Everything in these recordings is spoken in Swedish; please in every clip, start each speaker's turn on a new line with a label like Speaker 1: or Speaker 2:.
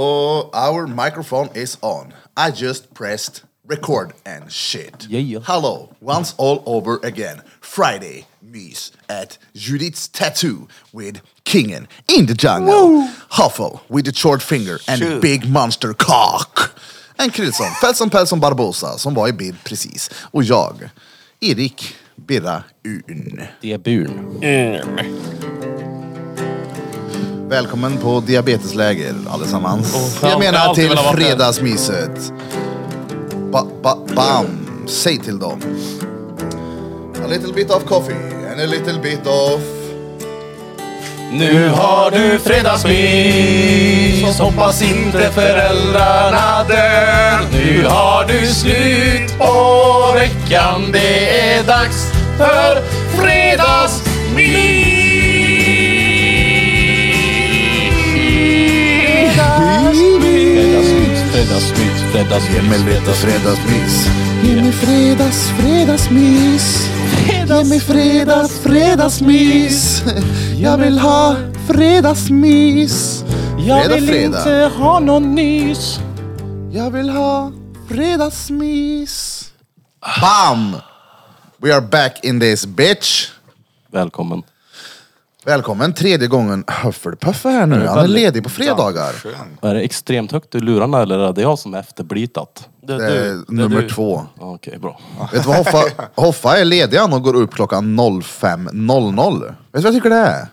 Speaker 1: Oh, our microphone is on. I just pressed record and shit.
Speaker 2: Yeah, yeah.
Speaker 1: Hello, once all over again. Friday, Mies at Judith's Tattoo with Kingen in the jungle. Huffle with the short finger and
Speaker 3: Shoot.
Speaker 1: big monster cock. En Krilson, Felson Pelson Barbosa som var i bild precis. Och jag, Erik Birra Un.
Speaker 2: Det är burn.
Speaker 1: Välkommen på diabetesläger allesammans.
Speaker 3: fan,
Speaker 1: jag
Speaker 3: jag har
Speaker 1: menar
Speaker 3: alltid
Speaker 1: till
Speaker 3: velat vara där.
Speaker 1: fredagsmyset. Ba, ba, bam! Säg till dem. A little bit of coffee and a little bit of...
Speaker 3: Nu har du fredagsmys, hoppas inte föräldrarna dör. Nu har du slut på veckan, det är dags för fredagsmys!
Speaker 2: Fredagsmys, fredagsmys, fredagsmys, fredagsmys.
Speaker 1: fredagsmys. Ge mig fredags, fredagsmys. Ge mig fredags, fredagsmys. Jag vill ha fredagsmys.
Speaker 2: Jag
Speaker 1: Fredag,
Speaker 2: vill
Speaker 1: fredag.
Speaker 2: inte ha någon nys.
Speaker 1: Jag vill ha fredagsmys. Bam! We are back in this bitch.
Speaker 2: Välkommen.
Speaker 1: Välkommen tredje gången Höffelpuffe här nu. Han är ledig på fredagar. Eh,
Speaker 2: Är det extremt högt i lurarna eller är det jag som är efterblytat?
Speaker 1: Det är nummer två.
Speaker 2: Okej, bra.
Speaker 1: Vet du vad Hoffa, Hoffa är ledig han och går upp klockan 05.00. Vet du vad jag tycker det är?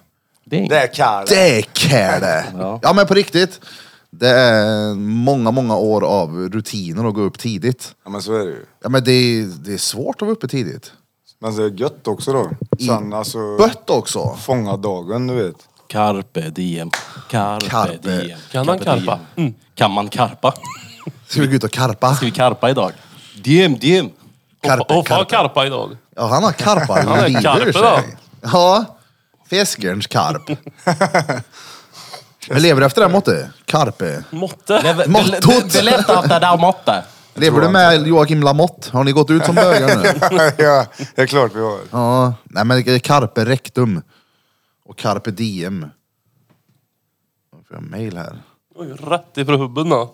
Speaker 2: Det
Speaker 3: Det
Speaker 2: är inget.
Speaker 3: är Karl.
Speaker 1: Det är kärle!
Speaker 2: Ja.
Speaker 1: Ja men på riktigt. Det är många, många år av rutiner att gå upp tidigt.
Speaker 4: Ja men så är det ju.
Speaker 1: Ja men det är, det är svårt att vara uppe tidigt.
Speaker 4: Men det är gött också då. Sen alltså,
Speaker 1: Bött också.
Speaker 4: fånga dagen du vet.
Speaker 2: Carpe diem. Carpe,
Speaker 1: Carpe.
Speaker 2: diem.
Speaker 5: Kan man
Speaker 2: Carpe diem.
Speaker 5: karpa?
Speaker 2: Kan man karpa?
Speaker 1: Ska vi gå ut och karpa?
Speaker 2: Ska vi karpa idag? Diem, diem.
Speaker 1: Karpe,
Speaker 5: Hoffa har
Speaker 1: karpe.
Speaker 5: karpa idag.
Speaker 1: Ja, han har karpar
Speaker 5: Han är
Speaker 1: lider
Speaker 5: karpe
Speaker 1: sig.
Speaker 5: då.
Speaker 1: Ja, fiskerns karp. Vi lever efter det här måttet. Karpe.
Speaker 5: Måtte.
Speaker 1: Mottot.
Speaker 2: Det är lätt att det där måttet.
Speaker 1: Lever du med Joakim Lamotte? Har ni gått ut som bögar nu?
Speaker 4: ja, det är klart vi har.
Speaker 1: Ja, nej men det är carpe rectum. Och carpe diem. Jag får en mail här.
Speaker 5: Oj, Rätt ifrån hubben då.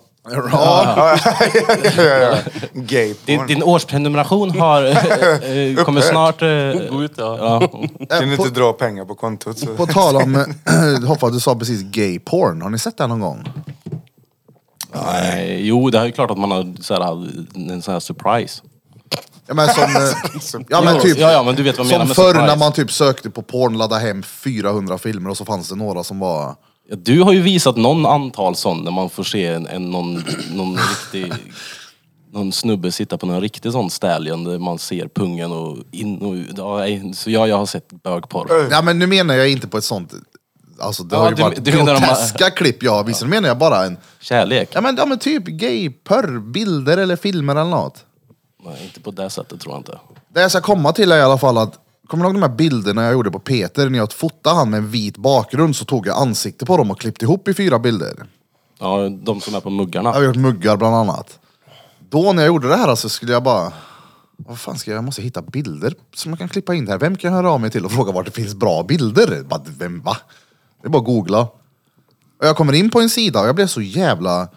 Speaker 4: Gay
Speaker 2: Din,
Speaker 4: porn.
Speaker 2: din årsprenumeration har, eh, eh, kommer snart... eh,
Speaker 5: Gå ut ja.
Speaker 2: Ja,
Speaker 4: Kan du
Speaker 1: På-
Speaker 4: inte dra pengar på kontot så.
Speaker 1: På tal om, Hoppa du sa precis gay porn. Har ni sett det någon gång?
Speaker 2: Nej, jo, det är ju klart att man har så här, en sån här surprise.
Speaker 1: Ja men som... eh, ja men typ...
Speaker 2: Ja, ja, men du vet vad jag menar
Speaker 1: Som
Speaker 2: med
Speaker 1: förr
Speaker 2: surprise.
Speaker 1: när man typ sökte på porn, laddade hem 400 filmer och så fanns det några som var...
Speaker 2: Ja, Du har ju visat någon antal sån när man får se en, en, någon, någon riktig... Någon snubbe sitta på någon riktig sån stallion där man ser pungen och in och ut. Ja, nej, så ja, jag har sett bögporr.
Speaker 1: Ja men nu menar jag inte på ett sånt... Alltså det
Speaker 2: Ja,
Speaker 1: har ju
Speaker 2: du-
Speaker 1: varit
Speaker 2: du menar de här-
Speaker 1: groteska klipp jag har visat. Nu menar jag bara en...
Speaker 2: Kärlek?
Speaker 1: Ja men, ja, men typ gay porr, bilder eller filmer eller något.
Speaker 2: Nej, inte på det sättet tror jag inte.
Speaker 1: Det jag ska komma till är i alla fall att, kommer du ihåg de här bilderna jag gjorde på Peter? När jag fotade han med en vit bakgrund så tog jag ansikte på dem och klippte ihop i fyra bilder.
Speaker 2: Ja, de som är på muggarna.
Speaker 1: Jag har gjort muggar bland annat. Då när jag gjorde det här så skulle jag bara... Vad fan ska jag, jag måste hitta bilder som jag kan klippa in här. Vem kan jag höra av mig till och fråga vart det finns bra bilder? Bara, vem, va? Det är bara att googla. Och jag kommer in på en sida och jag blev så jävla...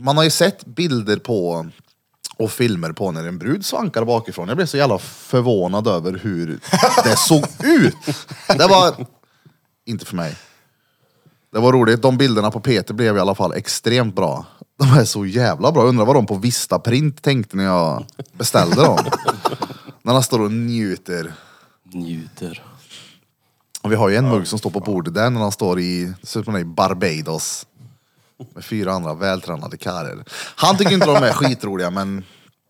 Speaker 1: Man har ju sett bilder på och filmer på när en brud svankar bakifrån. Jag blev så jävla förvånad över hur det såg ut. Det var... Inte för mig. Det var roligt, de bilderna på Peter blev i alla fall extremt bra. De är så jävla bra, undrar vad de på Vista Print tänkte när jag beställde dem. när han står och njuter.
Speaker 2: Njuter.
Speaker 1: Och vi har ju en mugg som står på bordet där när han står i, det ser ut som han är i Barbados. Med fyra andra vältränade karlar. Han tycker inte de är skitroliga men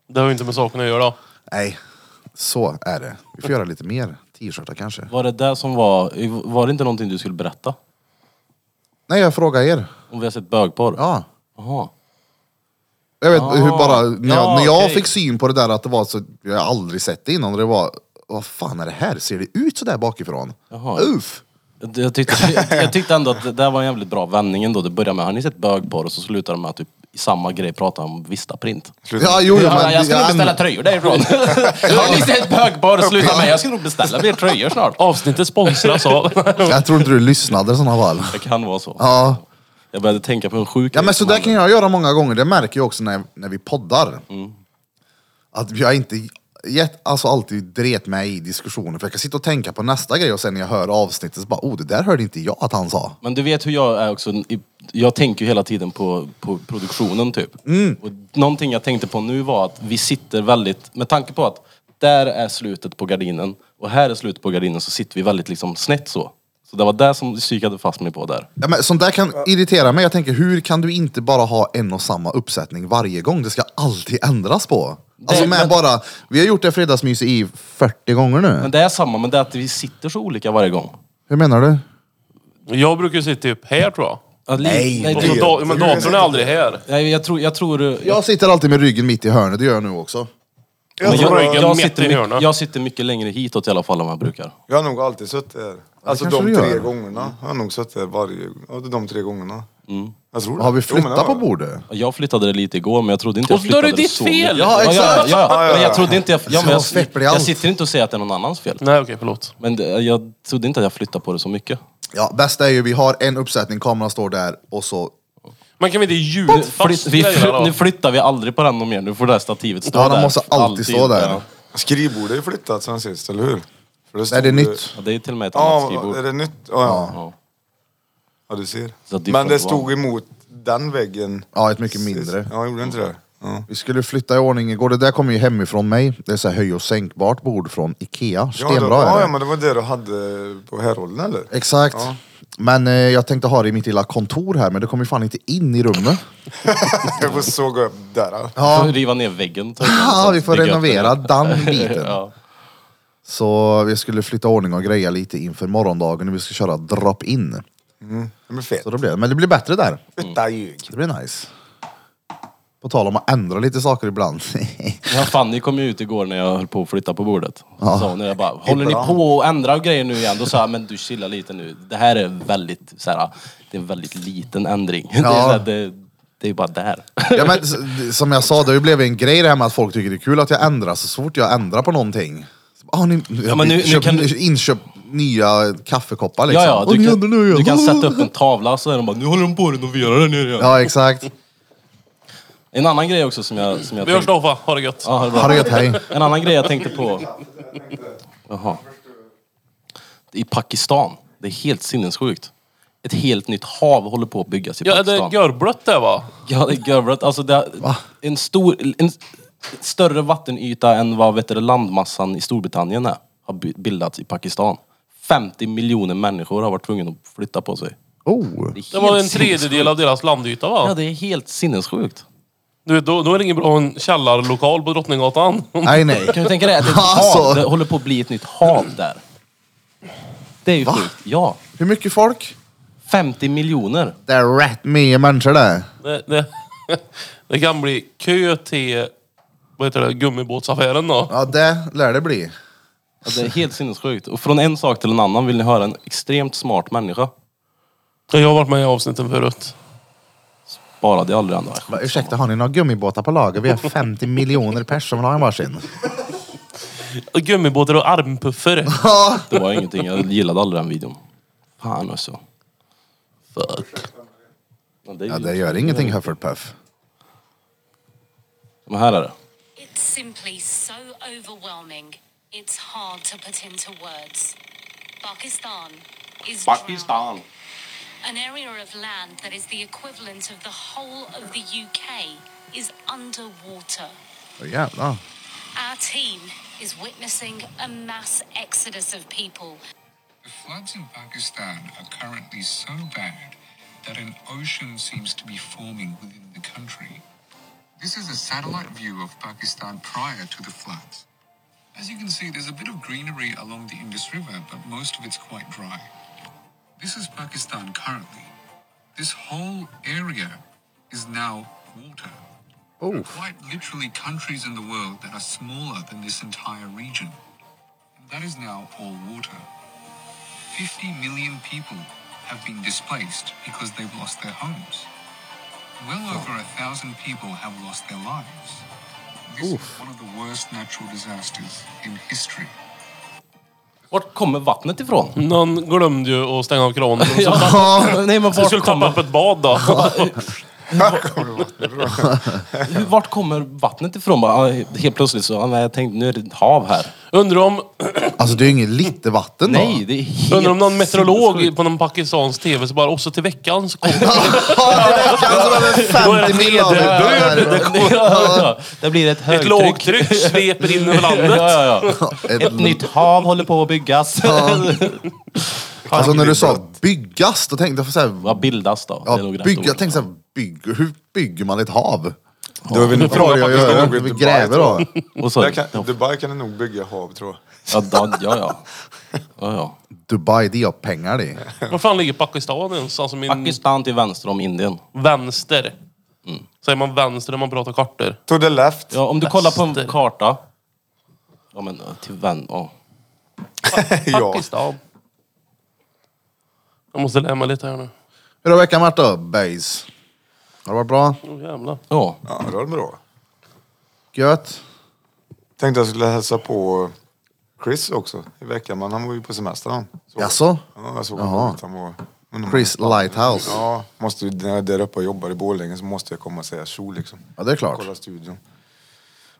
Speaker 5: Det har ju inte med saken att göra.
Speaker 1: nej, så är det. Vi får göra lite mer t-shirtar kanske.
Speaker 2: Var det det som var... Var det inte någonting du skulle berätta?
Speaker 1: Nej jag frågar er.
Speaker 2: Om vi har sett bögporr?
Speaker 1: Ja.
Speaker 2: Jaha.
Speaker 1: Jag vet hur bara, när jag,
Speaker 2: Ah. ja,
Speaker 1: när jag
Speaker 2: okej.
Speaker 1: fick syn på det där att det var så, jag har aldrig sett det innan, och det var, vad fan är det här? Ser det ut sådär bakifrån?
Speaker 2: Jaha.
Speaker 1: Uff!
Speaker 2: Jag- Jag tyckte, jag tyckte ändå att det där var en jävligt bra vändning ändå. Det började med, har ni sett bögporr? Och så slutade det med att typ, i samma grej pratar om Vistaprint.
Speaker 4: Sluta.
Speaker 1: Ja, jo, jo,
Speaker 2: Ja,
Speaker 1: men,
Speaker 2: jag ska nog
Speaker 1: jag-
Speaker 2: beställa tröjor därifrån. har ni sett bögporr? Sluta med, jag ska nog beställa mer tröjor snart.
Speaker 5: Avsnittet sponsras av...
Speaker 1: jag tror inte du lyssnade i sådana fall.
Speaker 2: Det kan vara så.
Speaker 1: Ja.
Speaker 2: Jag började tänka på en sjuk
Speaker 1: Ja
Speaker 2: grej
Speaker 1: men
Speaker 2: som
Speaker 1: så där
Speaker 2: hände.
Speaker 1: kan jag göra många gånger, det märker jag också när, när vi poddar.
Speaker 2: Mm.
Speaker 1: Att jag inte jätt, alltså alltid dret mig i diskussionen, för jag kan sitta och tänka på nästa grej och sen när jag hör avsnittet så bara, oh det där hörde inte jag att han sa.
Speaker 2: Men du vet hur jag är också. i- Jag tänker ju hela tiden på, på produktionen typ.
Speaker 1: Mm.
Speaker 2: Och någonting jag tänkte på nu var att vi sitter väldigt, med tanke på att där är slutet på gardinen och här är slutet på gardinen så sitter vi väldigt liksom snett så. Så det var det som psykade fast mig på där.
Speaker 1: Ja, men sånt där kan irritera mig, jag tänker hur kan du inte bara ha en och samma uppsättning varje gång? Det ska alltid ändras på. Alltså
Speaker 2: Nej,
Speaker 1: med
Speaker 2: men-
Speaker 1: bara, vi har gjort det fredagsmys i 40 gånger nu.
Speaker 2: Men det är samma, men det är att vi sitter så olika varje gång.
Speaker 1: Hur menar du?
Speaker 5: Jag brukar ju sitta typ här tror jag.
Speaker 2: Att li-
Speaker 1: Nej,
Speaker 2: nej,
Speaker 5: Och
Speaker 1: det
Speaker 5: så
Speaker 1: gör
Speaker 2: du,
Speaker 5: da- men datorn är aldrig här.
Speaker 2: nej, jag tror... Jag, tror, jag,
Speaker 1: Jag sitter alltid med ryggen mitt i hörnet, det gör jag nu också.
Speaker 4: Jag,
Speaker 2: men
Speaker 4: tror
Speaker 5: tror
Speaker 2: jag,
Speaker 5: jag-
Speaker 2: jag,
Speaker 5: mätt
Speaker 2: sitter
Speaker 5: i
Speaker 2: mycket,
Speaker 5: hörnet.
Speaker 2: jag sitter mycket längre hitåt i alla fall än vad jag brukar.
Speaker 4: jag har nog alltid suttit här. Alltså
Speaker 1: kanske
Speaker 4: de
Speaker 1: du gör.
Speaker 4: tre gångerna. Jag har nog suttit här varje... ja, De tre gångerna.
Speaker 2: Mm.
Speaker 4: Jag tror det.
Speaker 1: Har vi
Speaker 4: Jo, men det
Speaker 1: flyttat på
Speaker 4: jag.
Speaker 1: bordet?
Speaker 2: Jag flyttade det lite igår men jag trodde inte jag
Speaker 5: Och då är
Speaker 2: flyttade
Speaker 5: det
Speaker 2: det
Speaker 5: ditt
Speaker 2: så
Speaker 5: fel!
Speaker 2: mycket. Ja,
Speaker 5: Ja,
Speaker 2: ja,
Speaker 5: exakt.
Speaker 2: ja, ja. Men jag trodde inte jag... Ja, men
Speaker 1: Så fepplig
Speaker 2: jag, jag
Speaker 1: allt.
Speaker 2: sitter inte och säger att det är någon annans fel.
Speaker 5: Nej okej, förlåt.
Speaker 2: Men det, jag trodde inte att jag flyttade på det så mycket.
Speaker 1: Ja, bästa är ju vi har en uppsättning, kameran står där och så...
Speaker 5: Men kan vi inte
Speaker 2: Nu, flytt,
Speaker 5: ljudfast
Speaker 2: vi,
Speaker 5: grejerna då?
Speaker 2: nu flyttar vi aldrig på den och mer. Nu får det här stativet stå
Speaker 1: Ja,
Speaker 2: där.
Speaker 1: de måste alltid stå där.
Speaker 2: Ja.
Speaker 4: Skrivbordet är ju flyttat sen sist, eller hur? För det
Speaker 1: Är det
Speaker 4: stod-
Speaker 1: nytt?
Speaker 2: Ja, det är till och med ett annat
Speaker 4: Ja,
Speaker 2: skrivbord.
Speaker 4: är det nytt? Ja, ja.
Speaker 2: Ja.
Speaker 4: ja du ser.
Speaker 2: Så att det
Speaker 4: Men
Speaker 2: får
Speaker 4: det
Speaker 2: inte vara-
Speaker 4: stod emot den väggen.
Speaker 1: Ja, ett mycket mindre.
Speaker 4: Ja, gjorde inte det? Ja.
Speaker 1: Vi skulle flytta i ordning igår, det där kom ju hemifrån mig. Det är så här höj och sänkbart bord från Ikea.
Speaker 4: Ja, då,
Speaker 1: Stenbra
Speaker 4: ja,
Speaker 1: är
Speaker 4: ja,
Speaker 1: det.
Speaker 4: men det var det du hade på härrollen eller?
Speaker 1: Exakt.
Speaker 4: Ja.
Speaker 1: Men eh, jag tänkte ha det i mitt lilla kontor här, men det kommer ju fan inte in i rummet.
Speaker 4: Jag får såga upp där. ja.
Speaker 2: Ja.
Speaker 1: Ja,
Speaker 2: Riva ner väggen. ta
Speaker 1: ja
Speaker 2: den,
Speaker 1: vi
Speaker 2: så
Speaker 1: får
Speaker 2: bygga upp
Speaker 1: renovera
Speaker 2: den.
Speaker 1: den biten.
Speaker 2: Ja.
Speaker 1: Så vi skulle flytta i ordning och greja lite inför morgondagen när vi ska köra drop-in.
Speaker 4: Det blir fett.
Speaker 1: Så då blir det. Men det blir bättre där.
Speaker 4: Fetta ljug.
Speaker 1: Det blir nice. På tal om att ändra lite saker ibland.
Speaker 2: Ja, Fanny kom ju ut igår när jag höll på att flytta på bordet. Så
Speaker 1: Ja.
Speaker 2: sa hon, jag bara, håller ni
Speaker 4: Ibland.
Speaker 2: på och ändrar grejer nu igen? Då sa jag, men du chilla lite nu. Det här är väldigt, så här, det är en väldigt liten ändring. Det, är
Speaker 1: Ja.
Speaker 2: så här, det, det är bara där.
Speaker 1: ja, men, s- d- som jag sa, det har ju blivit en grej det här med att folk tycker det är kul att jag ändrar. Så fort jag ändrar på någonting. så bara, Ah, ni, ja,
Speaker 2: men nu- nu
Speaker 1: köp,
Speaker 2: kan du-
Speaker 1: inköp nya kaffekoppar liksom.
Speaker 2: Ja, ja,
Speaker 1: "Åh,
Speaker 2: du
Speaker 1: ni
Speaker 2: kan,
Speaker 1: ändrar nu igen."
Speaker 2: du kan sätta upp en tavla och så är de bara, nu håller de på att renovera den nere igen.
Speaker 1: Ja, exakt.
Speaker 2: En annan grej också som jag, som jag
Speaker 5: Vi hörs då Hoffa, ha det gött.
Speaker 2: Ja, ha det bra.
Speaker 1: Ha det gött, hej.
Speaker 2: En annan grej jag tänkte på. Jaha. I Pakistan. Det är helt sinnessjukt. Ett helt nytt hav håller på att byggas i
Speaker 5: Ja, är
Speaker 2: Pakistan.
Speaker 5: det görblött där va?
Speaker 2: Ja, det är görbrött. Alltså det är en stor, en större vattenyta än vad vet du, landmassan i Storbritannien är, har bi- bildats i Pakistan. 50 miljoner människor har varit tvungna att flytta på sig.
Speaker 1: Oh.
Speaker 2: är
Speaker 5: Det var
Speaker 2: helt
Speaker 5: en tredjedel av deras landyta
Speaker 2: sinnessjukt. Ja,
Speaker 5: va?
Speaker 2: det är helt sinnessjukt.
Speaker 5: Du vet, då, då är det ingen bra att ha en källarlokal på Drottninggatan.
Speaker 1: Nej, nej.
Speaker 2: Kan du tänka dig att det, är ett hav,
Speaker 1: Alltså.
Speaker 2: det håller på att bli ett nytt hav där? Det är ju sjukt. Ja.
Speaker 1: Hur mycket folk?
Speaker 2: 50 miljoner.
Speaker 1: Det är rätt mycket människor det.
Speaker 5: Det, det, det kan bli kö till, vad heter det, gummibåtsaffären då.
Speaker 1: Ja, det lär det bli.
Speaker 2: Ja, det är helt sinnessjukt. Och från en sak till en annan vill ni höra en extremt smart människa.
Speaker 5: Jag har varit med i avsnitten förut.
Speaker 2: Bara det aldrig ändå.
Speaker 1: Va, Ursäkta, har ni några gummibåtar på lager? Vi har 50 miljoner personer som vill ha en varsin.
Speaker 5: Gummibåtar och armpuffer.
Speaker 2: Det var ingenting. Jag gillade aldrig den videon. Fan alltså.
Speaker 5: Fuck.
Speaker 2: Ja, det är ju...
Speaker 1: Ja, det gör ingenting Hufflepuff.
Speaker 2: Men här är det.
Speaker 6: It's simply so overwhelming, it's hard to put into words. Pakistan is drowning. An area of land that is the equivalent of the whole of the UK is underwater.
Speaker 1: Åh, Jävlar.
Speaker 6: Our team is witnessing a mass exodus of people
Speaker 7: The floods in Pakistan are currently so bad that an ocean seems to be forming within the country. This is a satellite view of Pakistan prior to the floods. As you can see, there's a bit of greenery along the Indus River, but most of it's quite dry. This is Pakistan currently. This whole area is now water.
Speaker 1: Oh.
Speaker 7: There are Quite literally countries in the world that are smaller than this entire region. And that is now all water. 50 million people have been displaced because they've lost their homes. Well over a thousand people have lost their lives. This is one of the worst natural disasters in history.
Speaker 2: Vart kommer vattnet ifrån?
Speaker 5: Någon glömde ju att stänga av kranen.
Speaker 2: Nej, men
Speaker 5: Vi
Speaker 2: vart
Speaker 5: skulle tappa
Speaker 2: kommer,
Speaker 5: upp ett bad då.
Speaker 2: hur- vart kommer vattnet ifrån? Bara, ja, helt plötsligt så, ja, men jag tänkte nu är det ett hav här.
Speaker 5: Undrar om,
Speaker 1: Alltså det är ju inget lite vatten då.
Speaker 2: Nej, det är helt
Speaker 5: undrar om någon meteorolog
Speaker 2: sinnessjukt.
Speaker 5: på någon pakistansk tv så bara, också till veckan så kommer
Speaker 1: Ja, det räcker alltså med
Speaker 5: Då är det
Speaker 1: 50 mil av
Speaker 5: nedröd.
Speaker 1: det
Speaker 2: Det,
Speaker 1: här.
Speaker 2: kommer- Ja, det blir ett
Speaker 5: ett
Speaker 2: högtryck.
Speaker 5: lågtryck sveper in över
Speaker 2: Ja,
Speaker 5: landet.
Speaker 2: ja, ja. Ett nytt hav håller på att byggas.
Speaker 1: Alltså när du sa byggas, då tänkte jag så här,
Speaker 2: Vad bildas då?
Speaker 1: ja,
Speaker 2: Det är nog rätt
Speaker 1: bygga,
Speaker 2: ord.
Speaker 1: jag tänkte så här, bygg, hur bygger man ett hav?
Speaker 4: Då är vi nu
Speaker 1: Det frågar jag
Speaker 4: Pakistan och
Speaker 1: ju. Vi
Speaker 4: Dubai,
Speaker 1: gräver
Speaker 4: tror jag.
Speaker 1: då.
Speaker 2: Och så,
Speaker 4: Där
Speaker 2: ja,
Speaker 4: kan, Dubai kan nog bygga hav tror jag.
Speaker 2: ja, ja, ja. ja, ja.
Speaker 1: Dubai, det har pengar det.
Speaker 5: Var fan ligger Pakistan ens? Alltså min
Speaker 2: Pakistan till vänster om Indien.
Speaker 5: vänster. Säger man vänster när man pratar kartor?
Speaker 4: To the left.
Speaker 2: Ja, om du kollar på en
Speaker 5: Väster.
Speaker 2: karta. Ja, men eh, till vänster. Ja.
Speaker 4: ja.
Speaker 5: Pakistan. Jag måste lämna lite här nu.
Speaker 1: Hur har veckan varit då, Base? Har det varit bra?
Speaker 5: Åh jävlar.
Speaker 2: ja.
Speaker 4: ja, det var bra.
Speaker 1: Gött?
Speaker 4: Tänkte jag skulle hälsa på Chris också i veckan, men han var ju på semester han. Så.
Speaker 1: Jaså?
Speaker 4: Ja, jag såg
Speaker 1: Jaha.
Speaker 4: honom. Han var... undrar om-
Speaker 1: Chris Lighthouse?
Speaker 4: Ja, måste ju, när jag är där uppe och jobbar i Borlänge så måste jag komma och säga tjo liksom.
Speaker 1: Ja, det är klart.
Speaker 4: Kolla studion.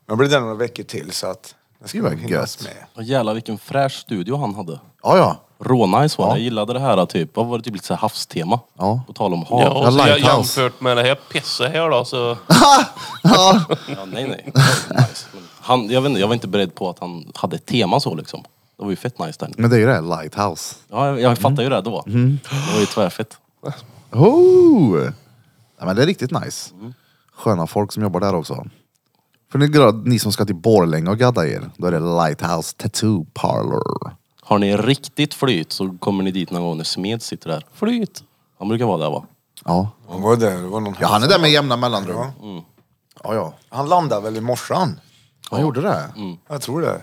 Speaker 4: Men jag blir där några veckor till så att det ska
Speaker 1: Det var
Speaker 4: nog hinnas
Speaker 1: gött.
Speaker 4: med.
Speaker 2: Och jävlar vilken fräsch studio han hade.
Speaker 1: Ja, ja.
Speaker 2: Rånice var det. Jag gillade det här typ, vad var det typ lite så här havstema?
Speaker 1: Ja.
Speaker 2: På tal om hav.
Speaker 5: Ja, och så jag
Speaker 1: Lighthouse.
Speaker 5: jämfört med det här pisset här då så...
Speaker 2: Ja, nej nej. Det var Nice. Men Han, jag, vet inte, jag var inte beredd på att han hade ett tema så liksom. Det var ju fett nice där.
Speaker 1: Men det är ju det, Lighthouse.
Speaker 2: Ja, jag, jag fattade ju det då.
Speaker 5: Mm.
Speaker 2: Det var ju tvärfett.
Speaker 1: Oh! Ja, men det är riktigt nice. Sköna folk som jobbar där också. För ni, gra- ni som ska till Borlänge och gadda er, då är det Lighthouse Tattoo Parlor.
Speaker 2: Har ni riktigt flyt så kommer ni dit någon gång när Smed sitter där.
Speaker 5: Flyt.
Speaker 2: Han brukar vara där va?
Speaker 1: Ja.
Speaker 4: Han var där, det var någon
Speaker 1: ja, han är där med jämna mellanrum. Mm.
Speaker 4: Ja.
Speaker 1: Ja, ja.
Speaker 4: Han landade väl i morse han?
Speaker 1: Han gjorde det?
Speaker 4: Jag tror det.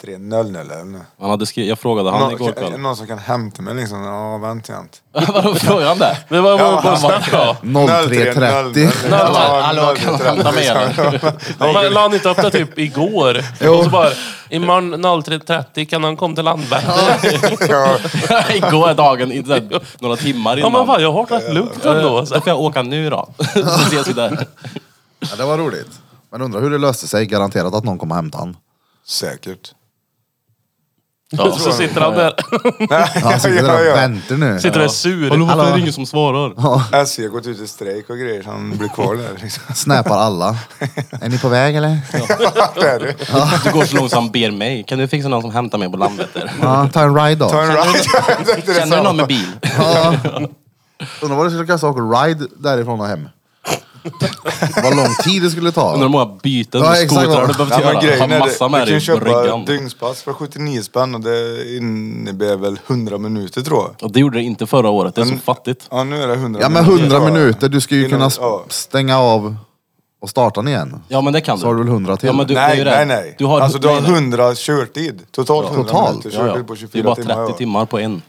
Speaker 4: 03, 00 eller något.
Speaker 2: Han hade skri- jag frågade han igår
Speaker 4: Någon, kan-
Speaker 2: kväll.
Speaker 4: någon som kan hämta mig liksom. Ja, vänta jämt.
Speaker 2: Vadå frågade han det?
Speaker 5: Det var
Speaker 4: Ja,
Speaker 5: vår ja,
Speaker 4: han
Speaker 5: snack då.
Speaker 1: 03.30.
Speaker 2: Hallå, kan du hämta mig eller?
Speaker 5: Man la inte upp det typ igår. Och så bara, imorgon 03.30 kan han komma till Landvetter.
Speaker 2: Igår dagen, inte där, några timmar
Speaker 5: Ja
Speaker 2: innan.
Speaker 5: men fan, jag har rätt lugnt
Speaker 2: Då
Speaker 5: ändå. Så.
Speaker 2: får jag åka nu då. Så ses vi där.
Speaker 1: Ja, det var roligt. Men undrar hur det löste sig. Garanterat att någon kom och hämtade han.
Speaker 4: Säkert.
Speaker 5: så sitter han där.
Speaker 1: Han sitter där och väntar nu.
Speaker 5: Sitter där sur.
Speaker 2: Hallå, varför är det
Speaker 1: Hallå.
Speaker 2: ingen som svarar?
Speaker 4: SJ har gått ut i strejk och grejer så han blir kvar där liksom.
Speaker 1: Snäpar alla. Är ni på väg eller?
Speaker 4: Där är du.
Speaker 2: Du går så långsamt ber mig. Kan du fixa någon som hämtar mig på Landvetter?
Speaker 1: Ja, ta en ride då.
Speaker 4: Ta en ride. Jag tänkte det
Speaker 2: Känner du
Speaker 4: samma.
Speaker 2: någon med bil?
Speaker 1: Ja. Undrar vad det skulle kasta att åka ride därifrån och hem. Vad lång tid det skulle
Speaker 2: Undrar hur
Speaker 1: ta.
Speaker 2: många byten
Speaker 1: Ja,
Speaker 2: och
Speaker 1: exakt
Speaker 2: skotrar
Speaker 1: vad-
Speaker 2: du behövt
Speaker 4: Ja, men
Speaker 2: göra.
Speaker 4: grejen
Speaker 2: Ha
Speaker 4: är
Speaker 2: massa
Speaker 4: det,
Speaker 2: med
Speaker 4: du kan
Speaker 2: dig på
Speaker 4: köpa
Speaker 2: ryggen.
Speaker 4: dygnspass för 79 spänn och det innebär väl 100 minuter tror jag.
Speaker 2: Och det gjorde det inte förra året. Det är så fattigt.
Speaker 4: Ja nu är det 100
Speaker 1: Ja men
Speaker 4: minuter,
Speaker 1: 100
Speaker 4: tror jag.
Speaker 1: minuter, du ska ju
Speaker 4: Innan-
Speaker 1: kunna
Speaker 4: ja.
Speaker 1: s- stänga av och starta den igen.
Speaker 2: Ja men det kan du.
Speaker 1: Så har du väl 100 till?
Speaker 2: Ja, men du, det är
Speaker 4: nej,
Speaker 2: ju det.
Speaker 4: nej, nej.
Speaker 2: Du har,
Speaker 4: alltså du har
Speaker 2: nej, nej.
Speaker 4: 100 körtid. Totalt 100
Speaker 1: Totalt,
Speaker 4: minuter
Speaker 2: Ja,
Speaker 4: körtid
Speaker 2: ja.
Speaker 4: på
Speaker 2: Det är
Speaker 4: 24
Speaker 2: bara 30
Speaker 4: timmar.
Speaker 2: timmar,
Speaker 4: ja.
Speaker 2: på en.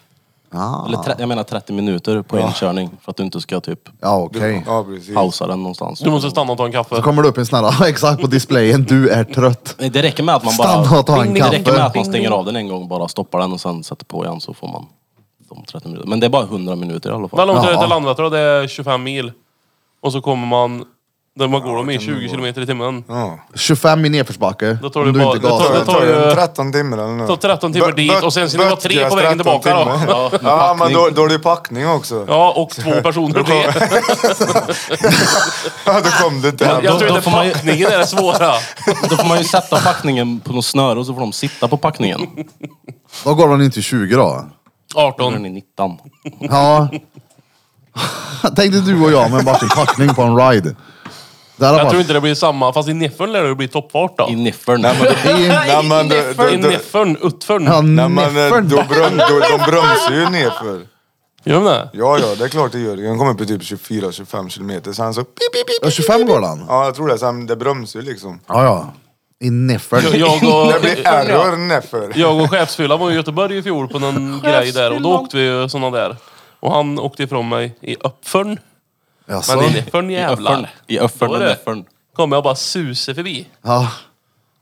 Speaker 1: Ah.
Speaker 2: Eller tre, jag menar 30 minuter på en körning. För att du inte ska typ
Speaker 1: Ja okej.
Speaker 4: Ja precis.
Speaker 2: pausa den någonstans.
Speaker 5: Du måste stanna och ta en kaffe.
Speaker 1: Så kommer det upp en sån här, ja, exakt på displayen, du är trött.
Speaker 2: Nej, Det räcker med att man bara...
Speaker 1: Stanna och ta en
Speaker 2: det räcker med
Speaker 1: kaffe.
Speaker 2: att man stänger av den en gång, bara stoppar den och sen sätter på igen så får man de 30 minuter. Men det är bara 100 minuter i alla
Speaker 5: Hur
Speaker 2: fall.
Speaker 5: långt är det
Speaker 1: Ja.
Speaker 5: till Landvetter då? Det är 25 mil. Och så kommer man... Där man går de i 20 kilometer i timmen.
Speaker 4: Ja.
Speaker 1: 25 i nedförsbacke.
Speaker 5: Då tar
Speaker 1: om
Speaker 5: du
Speaker 1: du
Speaker 5: bara-
Speaker 1: inte
Speaker 5: då tar-
Speaker 1: gasar.
Speaker 5: då
Speaker 4: Det tar
Speaker 5: ju-
Speaker 4: ju 13 timmar eller nåt.
Speaker 5: tar 13 timmar dit och sen ska det vara tre på vägen tillbaka då.
Speaker 4: Ja, ja men då, då är det ju packning också. Ja.
Speaker 5: Ja, och två personer till.
Speaker 4: då kom det
Speaker 2: Ja,
Speaker 4: där.
Speaker 5: Jag tror
Speaker 2: då
Speaker 5: inte
Speaker 2: får man ju-
Speaker 5: packningen är det svåra.
Speaker 2: Då får man ju sätta packningen på något snöre och så får de sitta på packningen.
Speaker 1: Då går den inte 20 då.
Speaker 2: Då är
Speaker 5: 18.
Speaker 2: den i 19.
Speaker 1: Ja. Tänkte du och jag med varsin packning på en ride. Där har
Speaker 5: Jag tror
Speaker 1: varit.
Speaker 5: inte det blir samma. Fast i Neffern lär det bli toppfart då.
Speaker 2: I niffern.
Speaker 4: Nej, men det- det-
Speaker 5: I
Speaker 4: det-
Speaker 5: Neffern, Utfern.
Speaker 1: Ja,
Speaker 4: Nej, men eh,
Speaker 1: näffern.
Speaker 4: då bröm, då, de bromsar ju nerför.
Speaker 5: Gör de det?
Speaker 4: Ja, ja, det är klart det gör. Den kommer på typ 24-25 kilometer. Sen så... Pip, pip, pip.
Speaker 1: Ja, 25 går den.
Speaker 4: Ja, jag tror det. Sen det bromsar ju liksom.
Speaker 1: Ja, ja. I näffern.
Speaker 5: Jag- Jag
Speaker 4: Det
Speaker 5: och,
Speaker 4: blir error nerför.
Speaker 5: jag och chefsfyllan var i Göteborg i fjol på någon grej där och då åkte vi ju såna där. Och han åkte ifrån mig i Uppförn.
Speaker 1: Jaså?
Speaker 5: Men i Neffern
Speaker 2: I öffern.
Speaker 5: jävlar.
Speaker 2: I öffern
Speaker 5: Då är
Speaker 2: och
Speaker 5: det.
Speaker 2: neffern.
Speaker 5: Kommer jag bara susar förbi.
Speaker 1: Ja.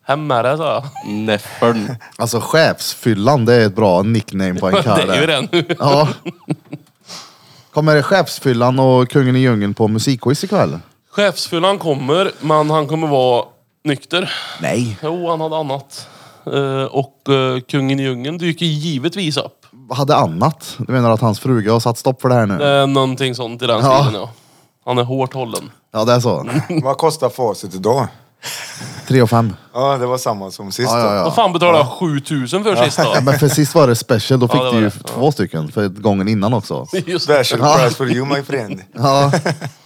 Speaker 5: Hem med det, sa jag.
Speaker 2: Näffern.
Speaker 1: Alltså chefsfyllan, det är ett bra nickname på en karl.
Speaker 5: Det är ju det nu.
Speaker 1: Ja. Kommer chefsfyllan och kungen i djungeln på musikquiz ikväll?
Speaker 5: Chefsfyllan kommer, men han kommer vara nykter.
Speaker 1: Nej.
Speaker 5: Jo, han hade annat. Eh, och eh, kungen i djungeln dyker givetvis upp.
Speaker 1: Hade annat? Du menar att hans fruga har satt stopp för det här nu?
Speaker 5: Eh, någonting sånt i den
Speaker 1: Ja.
Speaker 5: stilen, ja. Han är hårt hållen.
Speaker 1: Ja, det är så.
Speaker 4: Vad kostar facit idag?
Speaker 1: Tre och fem.
Speaker 4: Ja, det var samma som sist.
Speaker 1: Ja, ja,
Speaker 4: då.
Speaker 1: ja.
Speaker 5: Vad fan betalade jag 7000 för sist då?
Speaker 1: Ja, men för sist var det special, då fick
Speaker 5: det
Speaker 1: du
Speaker 5: var
Speaker 1: ju
Speaker 5: det. Ja.
Speaker 1: två stycken. För gången innan också.
Speaker 5: Just det.
Speaker 4: Special price for you my friend.
Speaker 1: Ja.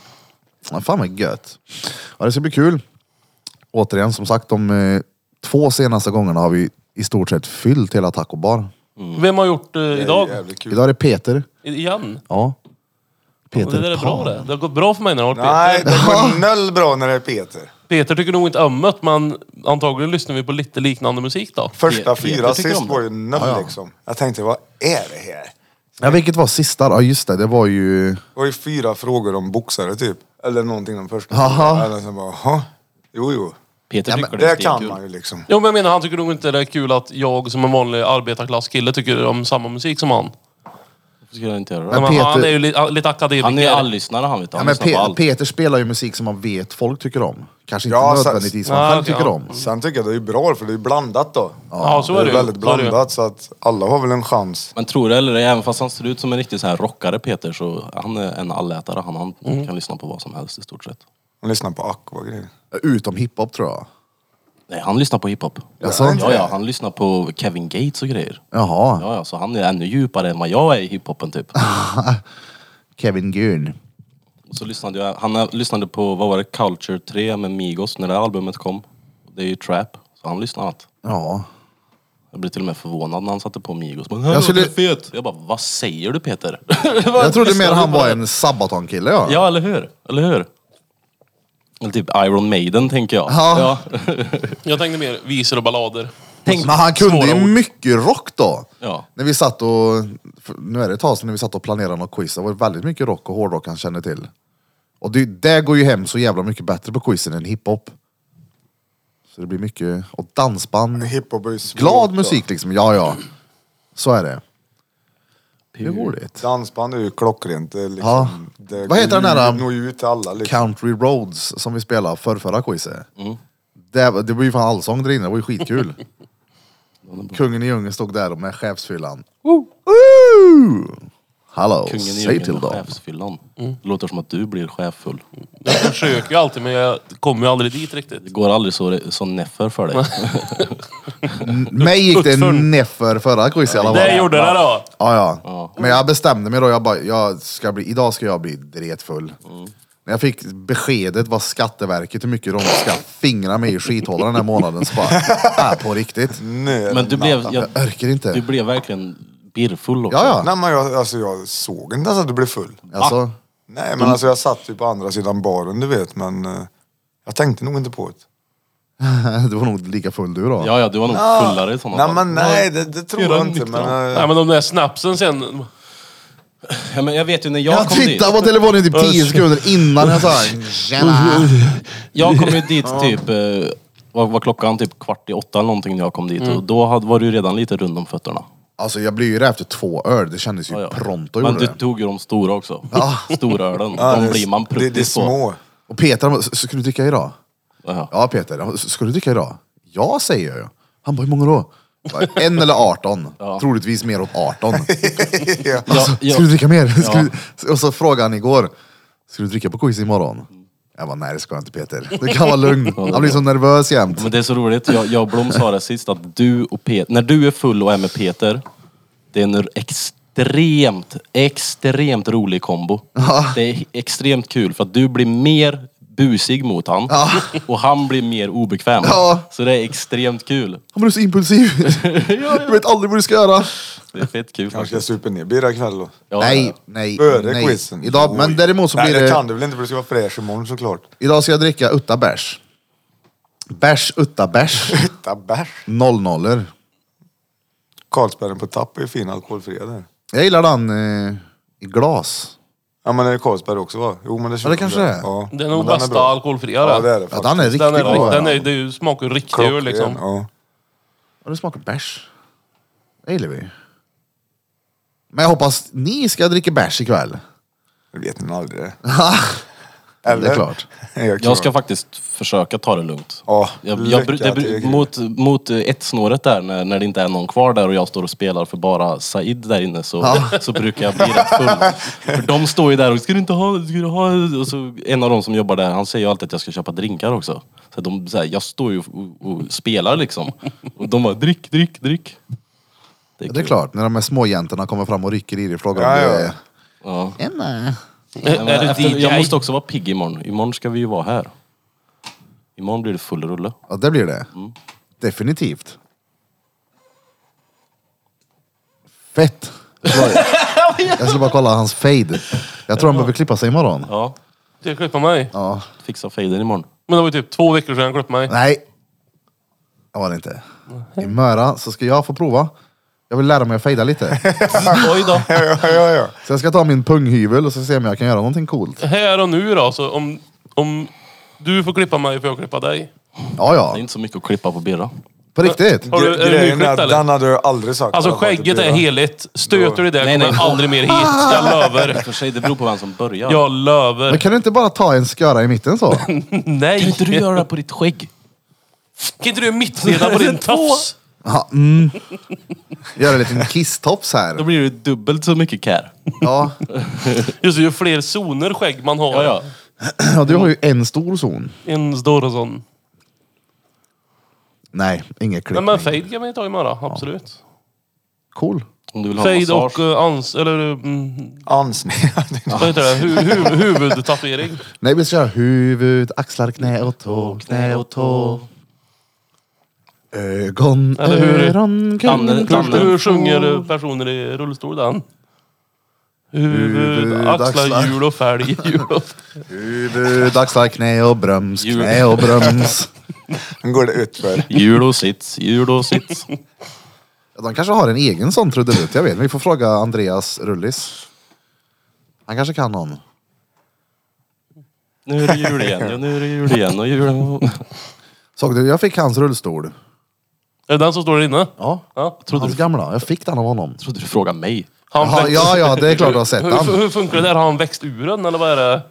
Speaker 1: ja fan vad gött. Ja, det ska bli kul. Återigen, som sagt, de eh, två senaste gångerna har vi i stort sett fyllt hela Taco Bar.
Speaker 5: Vem har gjort eh,
Speaker 4: Det är
Speaker 5: idag?
Speaker 4: jävligt kul.
Speaker 1: Idag är det Peter.
Speaker 5: I- Igen?
Speaker 1: Ja.
Speaker 5: Det där är bra
Speaker 1: Pan.
Speaker 5: det. Det har gått bra för mig när jag har varit
Speaker 4: Nej,
Speaker 5: Peter.
Speaker 4: det går noll bra när det är Peter.
Speaker 5: Peter tycker nog inte om det, men antagligen lyssnar vi på lite liknande musik då.
Speaker 2: Peter
Speaker 4: Första fyra
Speaker 2: tycker om
Speaker 4: sist
Speaker 2: det.
Speaker 4: var ju noll
Speaker 1: Ja, ja.
Speaker 4: liksom. Jag tänkte, vad är det här?
Speaker 1: Ja, vilket var sista då? Ja, just det. Det var ju...
Speaker 4: Det var ju fyra frågor om boxare typ. Eller någonting om första.
Speaker 1: Jaha.
Speaker 4: Eller så bara, jaha. Jo, jo.
Speaker 2: Peter tycker det är
Speaker 4: Det kan
Speaker 2: stenkul.
Speaker 4: man ju liksom.
Speaker 5: Jo men jag menar, han tycker nog inte det är kul att jag som en vanlig arbetarklasskille tycker om samma musik som han.
Speaker 2: Varför skulle han inte göra
Speaker 5: Nej,
Speaker 2: det?
Speaker 5: men
Speaker 1: Peter-
Speaker 5: Han är ju lite, lite akademiker.
Speaker 2: Han är ju allyssnare han vet du.
Speaker 1: Ja,
Speaker 2: Han
Speaker 1: men
Speaker 2: lyssnar på
Speaker 1: Pe
Speaker 2: allt.
Speaker 1: Peter spelar ju musik som man vet folk tycker om. Kanske inte
Speaker 4: Ja, så-
Speaker 1: nödvändigtvis man
Speaker 5: Ah,
Speaker 1: själv
Speaker 5: okej,
Speaker 1: tycker
Speaker 5: ja.
Speaker 1: om.
Speaker 4: Sen tycker jag det är ju bra för det är ju blandat då.
Speaker 5: Ja, så
Speaker 4: det
Speaker 5: är
Speaker 4: är
Speaker 5: det ju.
Speaker 4: väldigt
Speaker 5: Så är det ju.
Speaker 4: blandat så att alla har väl en chans.
Speaker 2: Men tror det eller ej, även fast han ser ut som en riktig så här rockare Peter så han är en allätare. Han, han
Speaker 1: Mm.
Speaker 2: kan lyssna på vad som helst i stort sett.
Speaker 4: Man lyssnar på Aqua och grejer.
Speaker 1: Utom hiphop tror jag.
Speaker 2: Nej, han lyssnar på hiphop.
Speaker 1: Jaså?
Speaker 2: Ja, ja, han lyssnar på Kevin Gates och grejer.
Speaker 1: Jaha.
Speaker 2: Ja, ja, så han är ännu djupare än vad jag är i hiphopen typ.
Speaker 1: Kevin Gunn.
Speaker 2: Och så lyssnade jag, han eh, lyssnade på, vad var det, Culture 3 med Migos när det här albumet kom. Det är ju trap, så han lyssnar allt.
Speaker 1: Ja.
Speaker 2: Jag blev till och med förvånad när han satte på Migos. Men, jag,
Speaker 1: Jag skulle-
Speaker 2: skulle... fet. jag bara, vad säger du Peter?
Speaker 1: Jag trodde mer han var en Sabaton-kille ja.
Speaker 2: Ja, eller hur? Eller hur? Eller typ Iron Maiden tänker jag.
Speaker 1: Ja.
Speaker 5: Jag tänkte mer visor och ballader.
Speaker 2: Tänk-
Speaker 1: Men han kunde ju
Speaker 5: Svåra ord.
Speaker 1: mycket rock då.
Speaker 2: Ja.
Speaker 1: När vi satt och, för- nu är det ett tag sedan när vi satt och planerade något quiz, det var väldigt mycket rock och hårdrock han kände till. Och det, det går ju hem så jävla mycket bättre på quizen än hiphop. Så det blir mycket, och dansband.
Speaker 4: Hiphop är ju svårt,
Speaker 1: Glad
Speaker 4: då.
Speaker 1: musik liksom, ja ja. Så är det. Det är roligt.
Speaker 4: Dansband är ju klockrent. Det är liksom,
Speaker 1: Ja.
Speaker 4: det
Speaker 1: Vad heter
Speaker 4: går
Speaker 1: den där-
Speaker 4: ju- når ju ut till alla liksom.
Speaker 1: Country Roads som vi spelade för förra quizet.
Speaker 2: Mm.
Speaker 1: Det, var- det var ju fan allsång där inne, det var ju skitkul. Kungen i djungeln stod där med chefsfyllan. Woo! Hallå,
Speaker 2: Kungen i
Speaker 1: säg till
Speaker 2: djungeln och
Speaker 1: dem.
Speaker 2: chefsfyllan. Det låter som att du blir cheffull.
Speaker 5: Jag försöker ju alltid men jag kommer ju aldrig dit riktigt.
Speaker 2: Det går aldrig så, så neffer för dig.
Speaker 1: Mig gick det
Speaker 5: Uppför-
Speaker 1: neffer förra quizet i alla fall.
Speaker 5: Det gjorde det då!
Speaker 1: Ja, ja. Men jag bestämde mig då, jag bara, jag ska bli, idag ska jag bli dretfull.
Speaker 2: Mm.
Speaker 1: När jag fick beskedet vad Skatteverket, hur mycket de ska fingra mig i skithålan den här månaden, så bara, äh, på riktigt.
Speaker 4: Nej,
Speaker 2: Men du blev, jag,
Speaker 1: Jag orkar inte.
Speaker 2: du blev verkligen birrfull också.
Speaker 1: Ja, ja.
Speaker 4: Nej men jag, alltså, jag såg inte ens att du blev full.
Speaker 2: Ah.
Speaker 1: Alltså,
Speaker 4: Nej men alltså jag satt ju på andra sidan baren du vet men eh, jag tänkte nog inte på det.
Speaker 1: du var nog lika full du då.
Speaker 2: Ja, ja, du var nog fullare i sådana
Speaker 4: Ah, Nej
Speaker 2: fall.
Speaker 4: men nej det, det tror
Speaker 2: Fyra
Speaker 4: jag inte
Speaker 2: nyktra.
Speaker 4: men... eh,
Speaker 5: Nej men de där snapsen sen.
Speaker 2: Ja, men jag vet ju när jag,
Speaker 1: Jag
Speaker 2: kom dit.
Speaker 1: tittade på telefonen i typ 10 sekunder innan jag sa tjena.
Speaker 2: Jag kom ju dit typ, eh, var, var klockan typ kvart i åtta eller någonting när jag kom dit. Och då hade, var du ju redan lite rund om fötterna.
Speaker 1: Alltså jag blir ju det efter två öl, det kändes ju
Speaker 2: Ja, ja.
Speaker 1: pronto
Speaker 2: Men
Speaker 1: gjorde
Speaker 2: du
Speaker 1: det.
Speaker 2: tog ju de stora också. Storölen.
Speaker 4: ja,
Speaker 2: de
Speaker 4: det-
Speaker 2: blir man
Speaker 4: det, det är
Speaker 2: pruttig på.
Speaker 4: små.
Speaker 1: Och Peter, han bara, "S- ska du dricka idag?
Speaker 2: Ja.
Speaker 1: Ja Peter, "Ja, s- ska du dricka idag? Ja säger jag ju. Han bara, hur många då? Jag bara, En eller 18. Troligtvis mer åt 18.
Speaker 2: Ja, ja.
Speaker 1: Ska du dricka mer? Ska du... Och så frågade han igår, ska du dricka på quiz imorgon? Jag bara, nej det ska jag inte Peter. Du kan vara lugn. Han blir så nervös jämt.
Speaker 2: Men det är så roligt, jag, jag och Blom sa det sist att du och Peter, när du är full och är med Peter, det är en extremt, extremt rolig kombo. Det är extremt kul för att du blir mer busig mot han och han blir mer obekväm.
Speaker 1: Ja.
Speaker 2: Så det är extremt kul.
Speaker 1: Han blir så impulsiv. Du vet aldrig vad du ska göra.
Speaker 2: Det är fett kul
Speaker 4: Kanske jag
Speaker 2: faktiskt.
Speaker 4: super ner bira ikväll då.
Speaker 2: Ja,
Speaker 1: Nej, nej,
Speaker 4: Före
Speaker 1: nej.
Speaker 4: quizen.
Speaker 1: Idag, men
Speaker 4: Oj.
Speaker 1: däremot så
Speaker 4: Nej
Speaker 1: blir
Speaker 4: det
Speaker 1: det...
Speaker 4: kan du väl inte för du ska vara fräsch imorgon såklart.
Speaker 1: Idag ska jag dricka utta bärs. Bärs utta bärs.
Speaker 4: Titta bärs.
Speaker 1: Noll nollor.
Speaker 4: Carlsbergen på tapp är ju fin alkoholfria där.
Speaker 1: Jag gillar den eh, i glas.
Speaker 4: Ja men är det Carlsberg också va? Jo men det
Speaker 1: Ja, det kanske det är.
Speaker 4: Ja.
Speaker 5: Det är
Speaker 4: Men
Speaker 5: nog
Speaker 4: den
Speaker 5: bästa
Speaker 4: bra.
Speaker 5: alkoholfria
Speaker 4: Ja det är det
Speaker 1: Ja,
Speaker 4: faktiskt.
Speaker 1: den är riktigt
Speaker 5: Den är,
Speaker 1: bra.
Speaker 5: den är, det är ju- smakar ju riktig öl
Speaker 4: Klockren,
Speaker 5: liksom.
Speaker 4: Ja.
Speaker 1: Ja, det smakar bärs. Det gillar vi. Men jag hoppas ni ska dricka bärs ikväll.
Speaker 4: Det vet ni aldrig det.
Speaker 1: Det är klart.
Speaker 4: Jag,
Speaker 2: Jag ska faktiskt försöka ta det lugnt.
Speaker 4: Ja,
Speaker 2: Jag, jag, bru-
Speaker 4: lycka
Speaker 2: det, bru-
Speaker 4: till, Gry.
Speaker 2: mot mot eh, ett-snåret där, när, när det inte är någon kvar där och jag står och spelar för bara Said där inne, så, så brukar jag bli rätt full. För de står ju där och ska du inte ha, ska du ha? Och så, en av de som jobbar där, han säger ju alltid att jag ska köpa drinkar också. Så de, så här, jag står ju och, och, och spelar liksom. Och de bara, drick, drick, drick.
Speaker 1: Ja, Det är
Speaker 2: kul.
Speaker 1: klart, när de här småjäntorna kommer fram och rycker i dig och frågar
Speaker 4: Ja,
Speaker 1: om du
Speaker 4: ja.
Speaker 1: är...
Speaker 2: Ja.
Speaker 1: Emma.
Speaker 5: Är, är du
Speaker 2: Efter,
Speaker 5: DJ?
Speaker 2: jag måste också vara pigg imorgon. Imorgon ska vi ju vara här. Imorgon blir det full rulle.
Speaker 1: Ja, det blir det. Definitivt. Fett. Jag skulle bara- Jag skulle bara kolla hans fade. Jag tror han behöver klippa sig imorgon.
Speaker 2: Ja,
Speaker 5: Ska jag klippa mig?
Speaker 1: Ja.
Speaker 2: fixa fejden imorgon.
Speaker 5: Men det var ju typ två veckor sedan jag klippte mig.
Speaker 1: Nej. Det var det inte. I Möra så ska jag få prova. Jag vill lära mig att fejda lite.
Speaker 5: Oj då.
Speaker 4: Ja, ja, ja.
Speaker 1: Så jag ska ta min punghyvel och så se om jag kan göra någonting coolt.
Speaker 5: Här och nu då, så om, om du får klippa mig får jag klippa dig.
Speaker 1: Ja,
Speaker 2: Det är
Speaker 1: ja.
Speaker 2: inte så mycket att klippa på birra.
Speaker 1: På riktigt.
Speaker 5: Har du-
Speaker 4: Gre-
Speaker 5: är du
Speaker 4: Grejen
Speaker 5: nyklippt,
Speaker 4: är att
Speaker 5: eller?
Speaker 4: den hade jag aldrig sagt.
Speaker 5: Alltså
Speaker 4: Jag hade inte
Speaker 5: skägget är
Speaker 4: blivit.
Speaker 5: heligt. Stöter du det
Speaker 2: Nej,
Speaker 5: kommer
Speaker 2: nej.
Speaker 5: jag aldrig mer hit. Jag
Speaker 2: I och
Speaker 5: löver.
Speaker 2: för sig, det beror på vem som börjar.
Speaker 5: Jag
Speaker 1: Men
Speaker 5: löver.
Speaker 1: kan du inte bara ta en sköra i mitten så?
Speaker 5: Nej.
Speaker 2: Kan inte du göra det på ditt skägg?
Speaker 5: Kan inte du mittleda på din tofs?
Speaker 1: Ja, mm. Göra en liten kisstops
Speaker 2: Då
Speaker 1: här.
Speaker 2: blir det dubbelt så mycket care.
Speaker 1: Ja.
Speaker 5: Just det, ju fler zoner skägg man har.
Speaker 2: Ja, ja.
Speaker 1: ja, du har ju en stor zon.
Speaker 5: En stor och sån.
Speaker 1: Nej, inget klippning.
Speaker 5: Nej men fade kan man ju ta imorgon, absolut.
Speaker 1: Cool.
Speaker 2: Om du vill ha
Speaker 5: Fade
Speaker 2: massage.
Speaker 5: och eh, ans... Eller mm,
Speaker 4: Ansning.
Speaker 5: vad heter det? Hu, hu, huvudtatuering.
Speaker 1: Nej, vi ska köra huvud, axlar, knä och tå, knä och tå. Ögon,
Speaker 5: Eller hur?
Speaker 1: öron,
Speaker 2: Anne-
Speaker 1: kung,
Speaker 2: Dan-
Speaker 1: kung.
Speaker 5: Hur, hur sjunger personer i rullstol den? Huvud,
Speaker 1: Huvud,
Speaker 5: axlar,
Speaker 1: axlar.
Speaker 5: hjul och fälg. hjul och-
Speaker 1: Huvud, axlar, knä och bröms,
Speaker 2: Djur.
Speaker 1: knä och bröms.
Speaker 4: Nu går det utför.
Speaker 2: Jul och sits, jul och sits.
Speaker 1: Ja, De kanske har en egen sån trudelutt, jag vet Vi får fråga Andreas Rullis. Han kanske kan någon.
Speaker 2: Nu är det jul igen, ja, nu är det jul igen och jul.
Speaker 1: Såg du, jag fick hans rullstol.
Speaker 5: Är det den som står där inne?
Speaker 1: Ja,
Speaker 5: Ja.
Speaker 2: Trodde
Speaker 1: hans
Speaker 2: du,
Speaker 1: gamla. Jag fick den av honom.
Speaker 2: trodde du frågade mig.
Speaker 5: Han
Speaker 1: Jaha,
Speaker 5: växt-
Speaker 1: ja, ja, det är klart du har sett
Speaker 5: hur,
Speaker 1: han.
Speaker 5: hur, hur funkar det där? Har han växt ur den eller vad är det?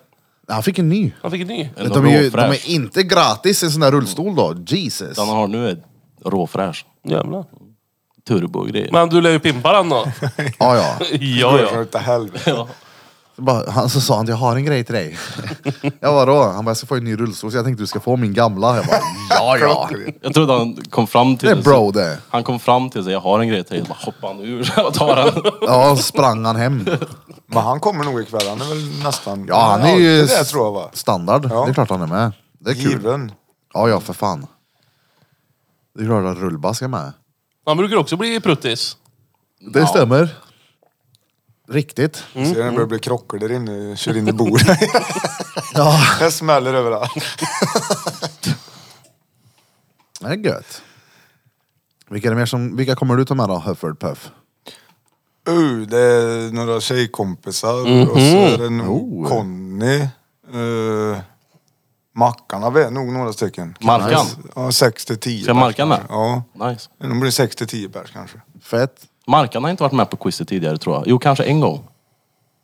Speaker 1: Han fick en ny.
Speaker 5: Han fick en ny.
Speaker 2: En
Speaker 1: De är, ju, de
Speaker 2: råfräsch.
Speaker 1: är inte gratis en sån där rullstol då. Jesus.
Speaker 2: Den han har nu är råfräsch.
Speaker 5: Jävlar.
Speaker 2: Turbo och grejer.
Speaker 5: Men du lär ju pimpa den då.
Speaker 1: Ja, ja.
Speaker 5: Ja,
Speaker 4: Det går
Speaker 5: ja.
Speaker 4: åt helvete.
Speaker 1: Så bara, han så sa han, jag har en grej till dig. jag bara, då? Han bara, jag ska få en ny rullstol så jag tänkte du ska få min gamla. Jag bara, ja ja.
Speaker 2: Jag trodde han kom fram till
Speaker 1: Det är bro det.
Speaker 2: Han kom fram till sig, jag har en grej till dig. Så bara hoppade han ur och tar den.
Speaker 1: Ja, så sprang han hem.
Speaker 4: Men han kommer nog ikväll. Han är väl nästan...
Speaker 1: Ja, han är
Speaker 4: alltid
Speaker 1: ju
Speaker 4: Det tror jag va?
Speaker 1: standard.
Speaker 4: Ja.
Speaker 1: Det är klart han är med. Det är kul.
Speaker 4: Given.
Speaker 1: Ja, ja för fan. Det är klart att Rullba ska med.
Speaker 5: Han brukar också bli pruttis.
Speaker 1: Det stämmer. Riktigt.
Speaker 2: Mm,
Speaker 4: Ser den börjar bli krockor där inne. Kör in i bordet.
Speaker 1: Ja.
Speaker 4: Det smäller överallt.
Speaker 1: Det är gött. Vilka, är det mer som, vilka kommer du ta med då, Hufford Puff?
Speaker 2: Mm.
Speaker 4: Uh, det är några tjejkompisar och så
Speaker 2: Mm-hmm.
Speaker 4: är det nog
Speaker 1: Oh,
Speaker 4: Conny. Uh, Mackarna vi är nog några stycken.
Speaker 2: Markan.
Speaker 4: Ja, 6 till 10.
Speaker 2: Ska Markan med?
Speaker 4: Ja,
Speaker 2: Nice.
Speaker 4: de blir 6 till 10 pers kanske.
Speaker 1: Fett.
Speaker 2: Markan har inte varit med på quizet tidigare tror jag. Jo, kanske en gång.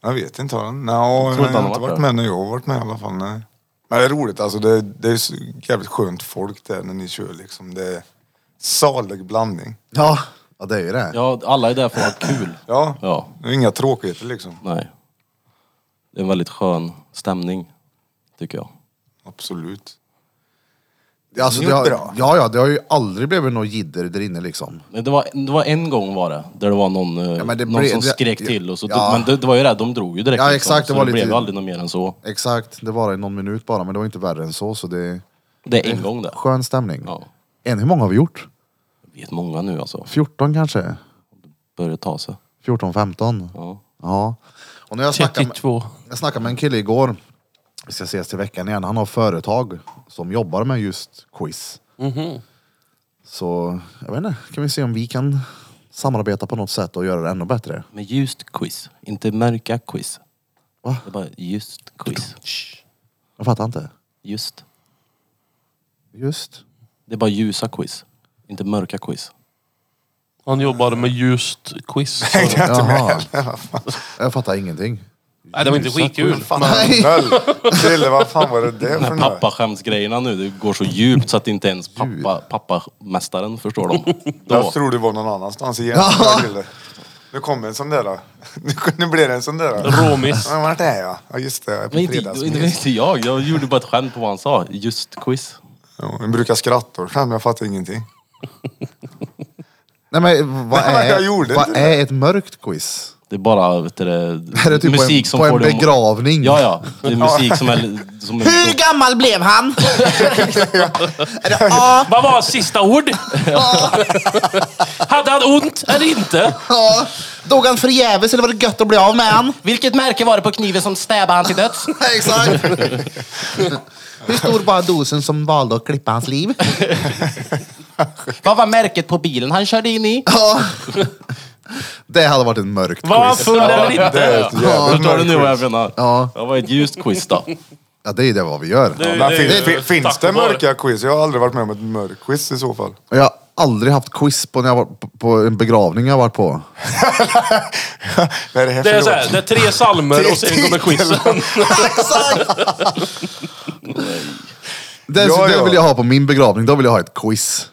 Speaker 4: Jag vet inte. har han- Nej, jag
Speaker 2: tror
Speaker 4: har
Speaker 2: inte han
Speaker 4: inte
Speaker 2: har varit
Speaker 4: varit med när jag har varit med i alla fall. Nej. Men det är roligt alltså. Det, det är så jävligt skönt folk där när ni kör liksom. Det är salig blandning.
Speaker 1: Ja, ja det är ju det.
Speaker 2: Ja, alla är där för att ha kul.
Speaker 4: Ja,
Speaker 2: Ja,
Speaker 4: det är inga tråkigheter liksom.
Speaker 2: nej. Det är en väldigt skön stämning, tycker jag.
Speaker 4: Absolut.
Speaker 1: Alltså,
Speaker 4: Ni
Speaker 1: det har,
Speaker 4: gjort bra.
Speaker 1: ja, ja, det har ju aldrig blivit något jidder där inne liksom.
Speaker 2: Men Det var, det var en gång var det, där det var någon, eh,
Speaker 1: men det
Speaker 2: någon
Speaker 1: blev-
Speaker 2: som
Speaker 1: det-
Speaker 2: skrek
Speaker 1: ja.
Speaker 2: till. Och så,
Speaker 1: Ja.
Speaker 2: Men det, det var ju det, de drog ju direkt.
Speaker 1: Ja,
Speaker 2: liksom,
Speaker 1: exakt, det
Speaker 2: så
Speaker 1: var
Speaker 2: det
Speaker 1: lite-
Speaker 2: blev aldrig något mer än så.
Speaker 1: Exakt, det var i någon minut bara, men det var inte värre än så. Så det är
Speaker 2: Det är
Speaker 1: Eh.
Speaker 2: en gång där.
Speaker 1: skön stämning.
Speaker 2: Ja,
Speaker 1: Än hur många har vi gjort?
Speaker 2: jag vet många nu alltså.
Speaker 1: 14 kanske?
Speaker 2: Börjar ta sig.
Speaker 1: 14, 15?
Speaker 2: Ja.
Speaker 1: Ja. Och när jag snackade med,
Speaker 5: 32.
Speaker 1: jag snackade med en kille igår, vi ska ses till veckan igen, han har företag som jobbar med just quiz. Så jag vet inte, kan vi se om vi kan samarbeta på något sätt och göra det ännu bättre?
Speaker 2: Med ljust quiz, inte mörka quiz.
Speaker 1: Va?
Speaker 2: Det är bara just quiz.
Speaker 1: Jag fattar inte.
Speaker 2: Just.
Speaker 1: Just.
Speaker 2: Det är bara ljusa quiz. Inte mörka quiz.
Speaker 5: Han jobbar med just quiz.
Speaker 1: Jaha. Jag fattar ingenting.
Speaker 5: Nej, det var inte skitkul.
Speaker 4: Fan, Nöll. Krille, vad fan var det där för
Speaker 2: Den
Speaker 4: något?
Speaker 2: här pappaskämsgrejerna nu, det går så djupt så att inte ens pappa, pappamästaren förstår dem. Då.
Speaker 4: Jag tror det var någon annanstans igen. Krille. Nu kommer en sån där då. Nu, nu blir det en sån där då.
Speaker 5: Råmiss.
Speaker 4: Men vart är jag? Ja just det, jag är
Speaker 2: Men
Speaker 4: på
Speaker 2: inte, det var
Speaker 4: fredagsmys.
Speaker 2: inte jag, jag gjorde bara ett skämt på vad han sa. Just quiz.
Speaker 4: Ja, Jag brukar skratta åt skämt, men jag fattar ingenting.
Speaker 1: Nej men vad
Speaker 4: Nej, men jag
Speaker 1: är,
Speaker 4: gjorde
Speaker 1: vad
Speaker 4: inte
Speaker 1: är ett mörkt quiz?
Speaker 2: Det är bara vet du, det,
Speaker 1: Är det typ
Speaker 2: musik
Speaker 1: på en,
Speaker 2: som
Speaker 1: på
Speaker 2: får
Speaker 1: en
Speaker 2: dig att må-
Speaker 1: begravning?
Speaker 2: Ja, ja. Det är musik som är... Som är
Speaker 8: Hur gammal blev han?
Speaker 5: Vad var sista ord? Hade han ont eller inte?
Speaker 8: Ja. Dog han förgäves eller var det gött att bli av med han?
Speaker 2: Vilket märke var det på kniven som stäbade han till döds?
Speaker 8: Exakt. Hur stor var dosen som valde att klippa hans liv?
Speaker 2: Vad var märket på bilen han körde in i?
Speaker 1: Ja. Det hade varit ett mörkt
Speaker 5: Var han
Speaker 1: quiz.
Speaker 5: full eller
Speaker 4: Det
Speaker 5: inte?
Speaker 4: är ett jävligt
Speaker 2: Förstår du
Speaker 4: mörkt
Speaker 2: nu vad
Speaker 4: quiz.
Speaker 2: jag menar?
Speaker 1: Ja.
Speaker 2: Det var ett ljust quiz då.
Speaker 1: Ja, det är det vad vi gör.
Speaker 5: Det-
Speaker 4: Men
Speaker 5: det-
Speaker 4: fin, fin,
Speaker 5: tack
Speaker 4: finns
Speaker 5: och
Speaker 4: det
Speaker 5: lov.
Speaker 4: mörka quiz? Jag har aldrig varit med om ett mörkt quiz i så fall.
Speaker 1: Jag har aldrig haft quiz på, när jag var på, på en begravning jag varit på.
Speaker 4: Vad är det här
Speaker 5: Det
Speaker 4: för
Speaker 5: är
Speaker 4: låt?
Speaker 5: så här, det är tre salmer och sen kommer quizen.
Speaker 1: Den,
Speaker 4: Ja,
Speaker 1: Det
Speaker 4: ja.
Speaker 1: vill jag ha på min begravning, då vill jag ha ett quiz.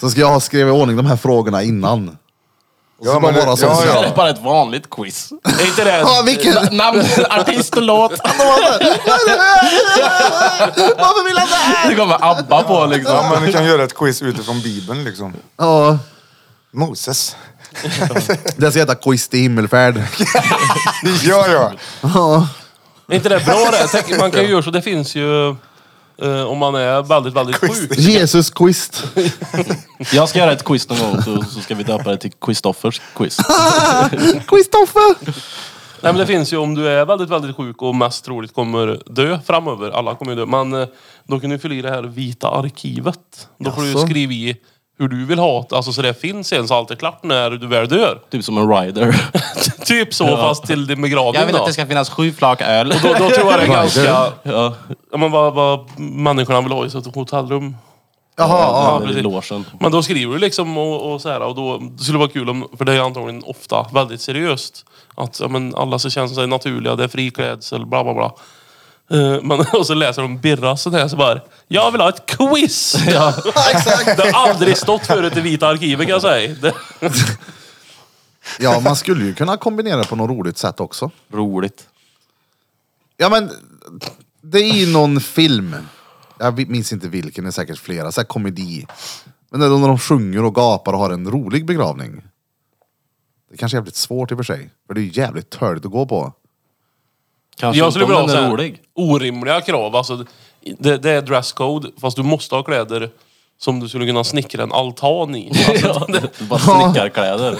Speaker 1: Så ska jag ha skrivit i ordning de här frågorna innan.
Speaker 4: Ja,
Speaker 1: så bara
Speaker 4: men det-
Speaker 1: vara så.
Speaker 4: ja,
Speaker 2: Det
Speaker 4: ja.
Speaker 2: är bara ett vanligt quiz.
Speaker 5: Är inte det?
Speaker 1: Ja, vilken...
Speaker 2: Namn, artist och låt.
Speaker 8: Varför vill han det här?
Speaker 2: Det kommer ABBA på liksom.
Speaker 4: Ja, men du kan göra ett quiz utifrån Bibeln liksom.
Speaker 1: Ja,
Speaker 4: Moses.
Speaker 1: det ska heta Quiz till himmelfärd.
Speaker 4: Ja, ja.
Speaker 5: Är inte det bra det? Tänk, man kan ju göra så. Det finns ju... eh, om man är väldigt, väldigt sjuk.
Speaker 1: Jesus quiz.
Speaker 2: Jag ska göra ett quiz någon gång så, så ska vi döpa det till Quistoffers quiz.
Speaker 1: Quiztoffer!
Speaker 5: Nej men det finns ju om du är väldigt, väldigt sjuk och mest troligt kommer dö framöver. Alla kommer ju dö. Men eh, då kan du fylla i det här vita arkivet. Då får du
Speaker 1: Jaså?
Speaker 5: skriva i hur du vill ha det. Alltså så det finns en så allt är klart när du väl dör.
Speaker 2: Typ som en rider.
Speaker 5: Typ så fast till din begravning då.
Speaker 2: ska finnas sju flak öl.
Speaker 5: Då, då tror jag det är ganska...
Speaker 2: Ja,
Speaker 5: Ja, men vad, vad människorna vill ha i sitt hotellrum.
Speaker 1: Jaha,
Speaker 5: Ja,
Speaker 2: ja,
Speaker 5: precis.
Speaker 2: logen.
Speaker 5: Men då skriver du liksom och, och så här och då det skulle vara kul om, för det är antagligen ofta väldigt seriöst. Att ja, men alla så känner sig naturliga, det är fri klädsel, bla bla bla. Eh, Men, och så läser de Birras sånt här så bara, jag vill ha ett quiz! Det har aldrig stått förut i Vita Arkivet kan jag säga. Det,
Speaker 1: ja. ja, man skulle ju kunna kombinera det på något roligt sätt också.
Speaker 2: Roligt.
Speaker 1: Ja men, det är ju någon film. Jag minns inte vilken, det är säkert flera. Så här komedi. Men det är då när de sjunger och gapar och har en rolig begravning. Det kanske är jävligt svårt i och för sig. För det är ju jävligt törligt att gå på.
Speaker 2: Kanske
Speaker 5: jag skulle vilja
Speaker 2: inte
Speaker 5: ha
Speaker 2: om
Speaker 5: så
Speaker 2: den är
Speaker 5: här
Speaker 2: rolig.
Speaker 5: orimliga krav. Alltså, det, det är dresscode, fast du måste ha kläder som du skulle kunna snickra en altan i. Alltså, det,
Speaker 2: Bara snickarkläder.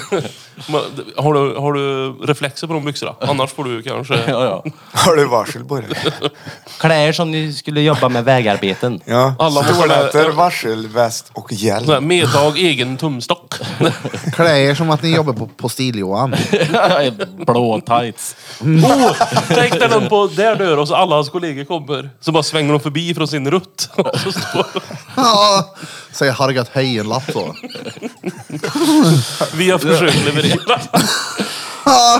Speaker 5: Men, har, du, har du reflexer på de byxorna? Annars får du kanske...
Speaker 2: Ja, ja.
Speaker 4: Har du varsel på det?
Speaker 2: Kläder som ni skulle jobba med vägarbeten.
Speaker 4: Ja.
Speaker 5: Alla måste
Speaker 4: Stålnätter,
Speaker 5: ha-
Speaker 4: varsel, väst och hjälm.
Speaker 5: Sådär, Medtag, egen tumstock.
Speaker 1: Klä er som att ni jobbar på Postil-Johan.
Speaker 2: Blå tights.
Speaker 5: Oh, tänk dig någon på där dör och så alla hans kollegor kommer. Så bara svänger de förbi från sin rutt. Och så står
Speaker 1: Ja, Säger Hargat hej en lapp så.
Speaker 5: vi har försökt leverera.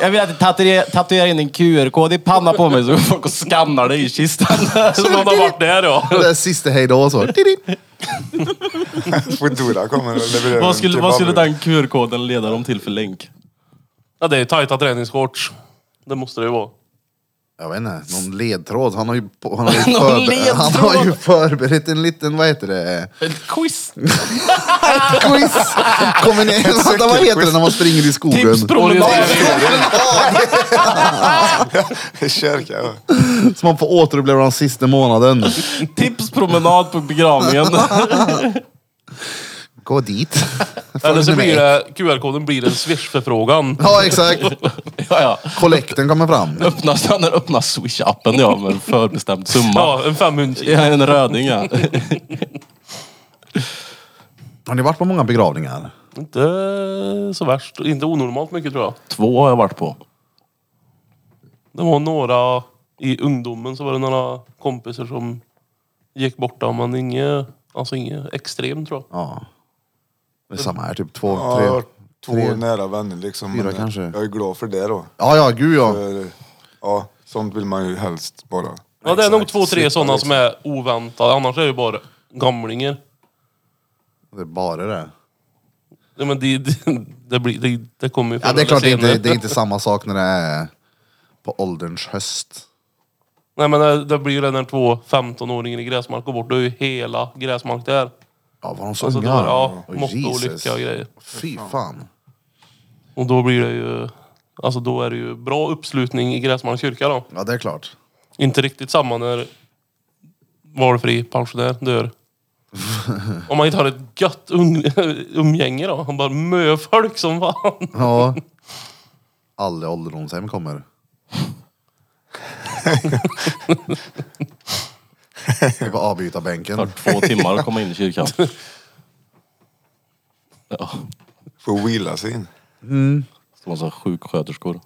Speaker 2: Jag vill att du tatuerar, tatuerar in en QR-kod i pannan på mig så folk och skannar dig i kistan.
Speaker 5: Så någon har varit där ja.
Speaker 1: Det är sista hej då så. Tidi.
Speaker 4: Foodora kommer och levererar
Speaker 2: vad,
Speaker 4: en
Speaker 2: skulle,
Speaker 4: kebab.
Speaker 2: vad skulle den QR-koden leda dem till för länk?
Speaker 5: ja. Det är tajta träningsshorts. Det måste det ju vara.
Speaker 1: Jag vet inte, någon ledtråd. Han har ju, på- han har ju,
Speaker 2: Någon
Speaker 1: förber-
Speaker 2: ledtråd?
Speaker 1: han har ju förberett en liten, vad heter det?
Speaker 2: Ett quiz!
Speaker 1: Quiz! Kommer ni, vänta, vad heter det när man springer i skogen?
Speaker 2: Typ
Speaker 5: Orientering.
Speaker 4: Kyrka, ja.
Speaker 1: Så man får återuppleva den sista månaden.
Speaker 2: Tipspromenad på begravningen.
Speaker 1: Gå dit.
Speaker 5: Eller så
Speaker 1: Följ med.
Speaker 5: blir det, QR-koden blir en swish-förfrågan.
Speaker 1: Ja, exakt.
Speaker 2: ja, ja.
Speaker 1: Kollekten kommer fram.
Speaker 2: Öppna, stannar, öppna Swish-appen ja, med en förbestämd summa.
Speaker 5: Ja, en 500
Speaker 2: Ja, en röding ja.
Speaker 1: Har ni varit på många begravningar?
Speaker 5: Inte så värst. Inte onormalt mycket tror jag.
Speaker 2: Två har jag varit på.
Speaker 5: Det var några i ungdomen så var det några kompisar som gick borta men inget, alltså inget extremt tror jag.
Speaker 1: Ja. Det är samma här, typ två,
Speaker 4: Ja, jag har
Speaker 1: tre.
Speaker 4: varit två
Speaker 1: tre-
Speaker 4: nära vänner liksom.
Speaker 1: fyra
Speaker 4: men, eh,
Speaker 1: kanske.
Speaker 4: Jag är glad för det då.
Speaker 1: Ja, ja, gud ja.
Speaker 4: För, eh, ja, sånt vill man ju helst bara.
Speaker 5: Ja det är nog två, tre
Speaker 4: Slippa
Speaker 5: sådana
Speaker 4: liksom.
Speaker 5: som är oväntade. Annars är det ju bara gamlingar.
Speaker 1: Det är bara det.
Speaker 5: Ja, men det, det, det, blir, det, det kommer ju
Speaker 1: Ja,
Speaker 5: förr
Speaker 1: det är
Speaker 5: eller
Speaker 1: klart det är, inte,
Speaker 5: senare.
Speaker 1: det är inte samma sak när det är på ålderns höst.
Speaker 5: Nej men det, det blir ju det när två 15-åringar i gräsmark går bort. Då är ju hela gräsmark där.
Speaker 1: Ja, var de så
Speaker 5: Alltså,
Speaker 1: unga?
Speaker 5: då, ja,
Speaker 1: Åh,
Speaker 5: måtta och
Speaker 1: Jesus.
Speaker 5: lycka och grejer.
Speaker 1: Fy fan.
Speaker 5: Och då blir det ju... Alltså då är det ju bra uppslutning i Gräsmarks kyrka då.
Speaker 1: Ja, det är klart.
Speaker 5: Inte riktigt samma när valfri pensionär dör. Om man inte har ett gött ung- umgänge då. Han bara mö folk som fan.
Speaker 1: Ja. Alla ålderdomshem kommer. Det är på avbytarbänken.
Speaker 2: Tar två timmar att komma in i kyrkan. Ja,
Speaker 4: Får liksom wheela sig in.
Speaker 2: så massa sjuksköterskor.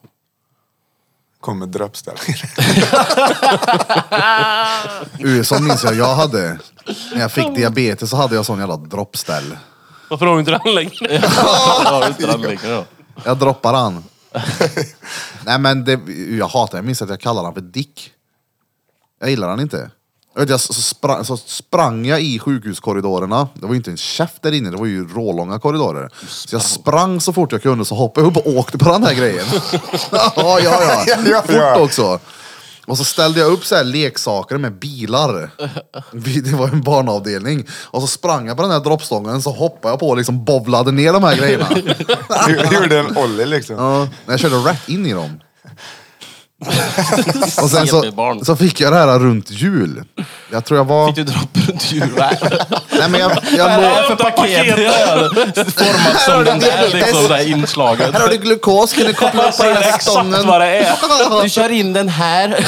Speaker 4: Kommer dröpställningar.
Speaker 1: USA minns jag jag hade. När jag fick diabetes så hade jag sån jävla droppställ.
Speaker 5: Varför har du inte den längre?
Speaker 2: Har du inte den längre då?
Speaker 1: Jag droppar han. Nej men det, jag hatar Jag minns att jag kallade han för Dick. Jag gillar han inte. Jag vet, jag, så, sprang, så sprang jag i sjukhuskorridorerna. Det var ju inte en käft där inne, det var ju rålånga korridorer. Så jag sprang så fort jag kunde, så hoppade jag upp och åkte på den här grejen. ja, ja, ja.
Speaker 4: Ja, ja.
Speaker 1: Fort också. Och så ställde jag upp så här leksaker med bilar. Vi- Det var en barnavdelning. Och så sprang jag på den här droppstången, så hoppade jag på och liksom bovlade ner de här grejerna.
Speaker 4: Gjorde en ollie liksom.
Speaker 1: Ja, men jag körde rätt in i dem. Och sen så,
Speaker 2: CP-barn.
Speaker 1: så fick jag det här runt jul. Jag tror jag var...
Speaker 2: Fick du dropp runt huvudet?
Speaker 1: Nej men jag, jag låg...
Speaker 2: för paket? Det är Format som den är liksom, det här inslaget.
Speaker 1: Här har du glukos, kan du koppla upp på den här stången?
Speaker 2: vad det är. Du kör in den här.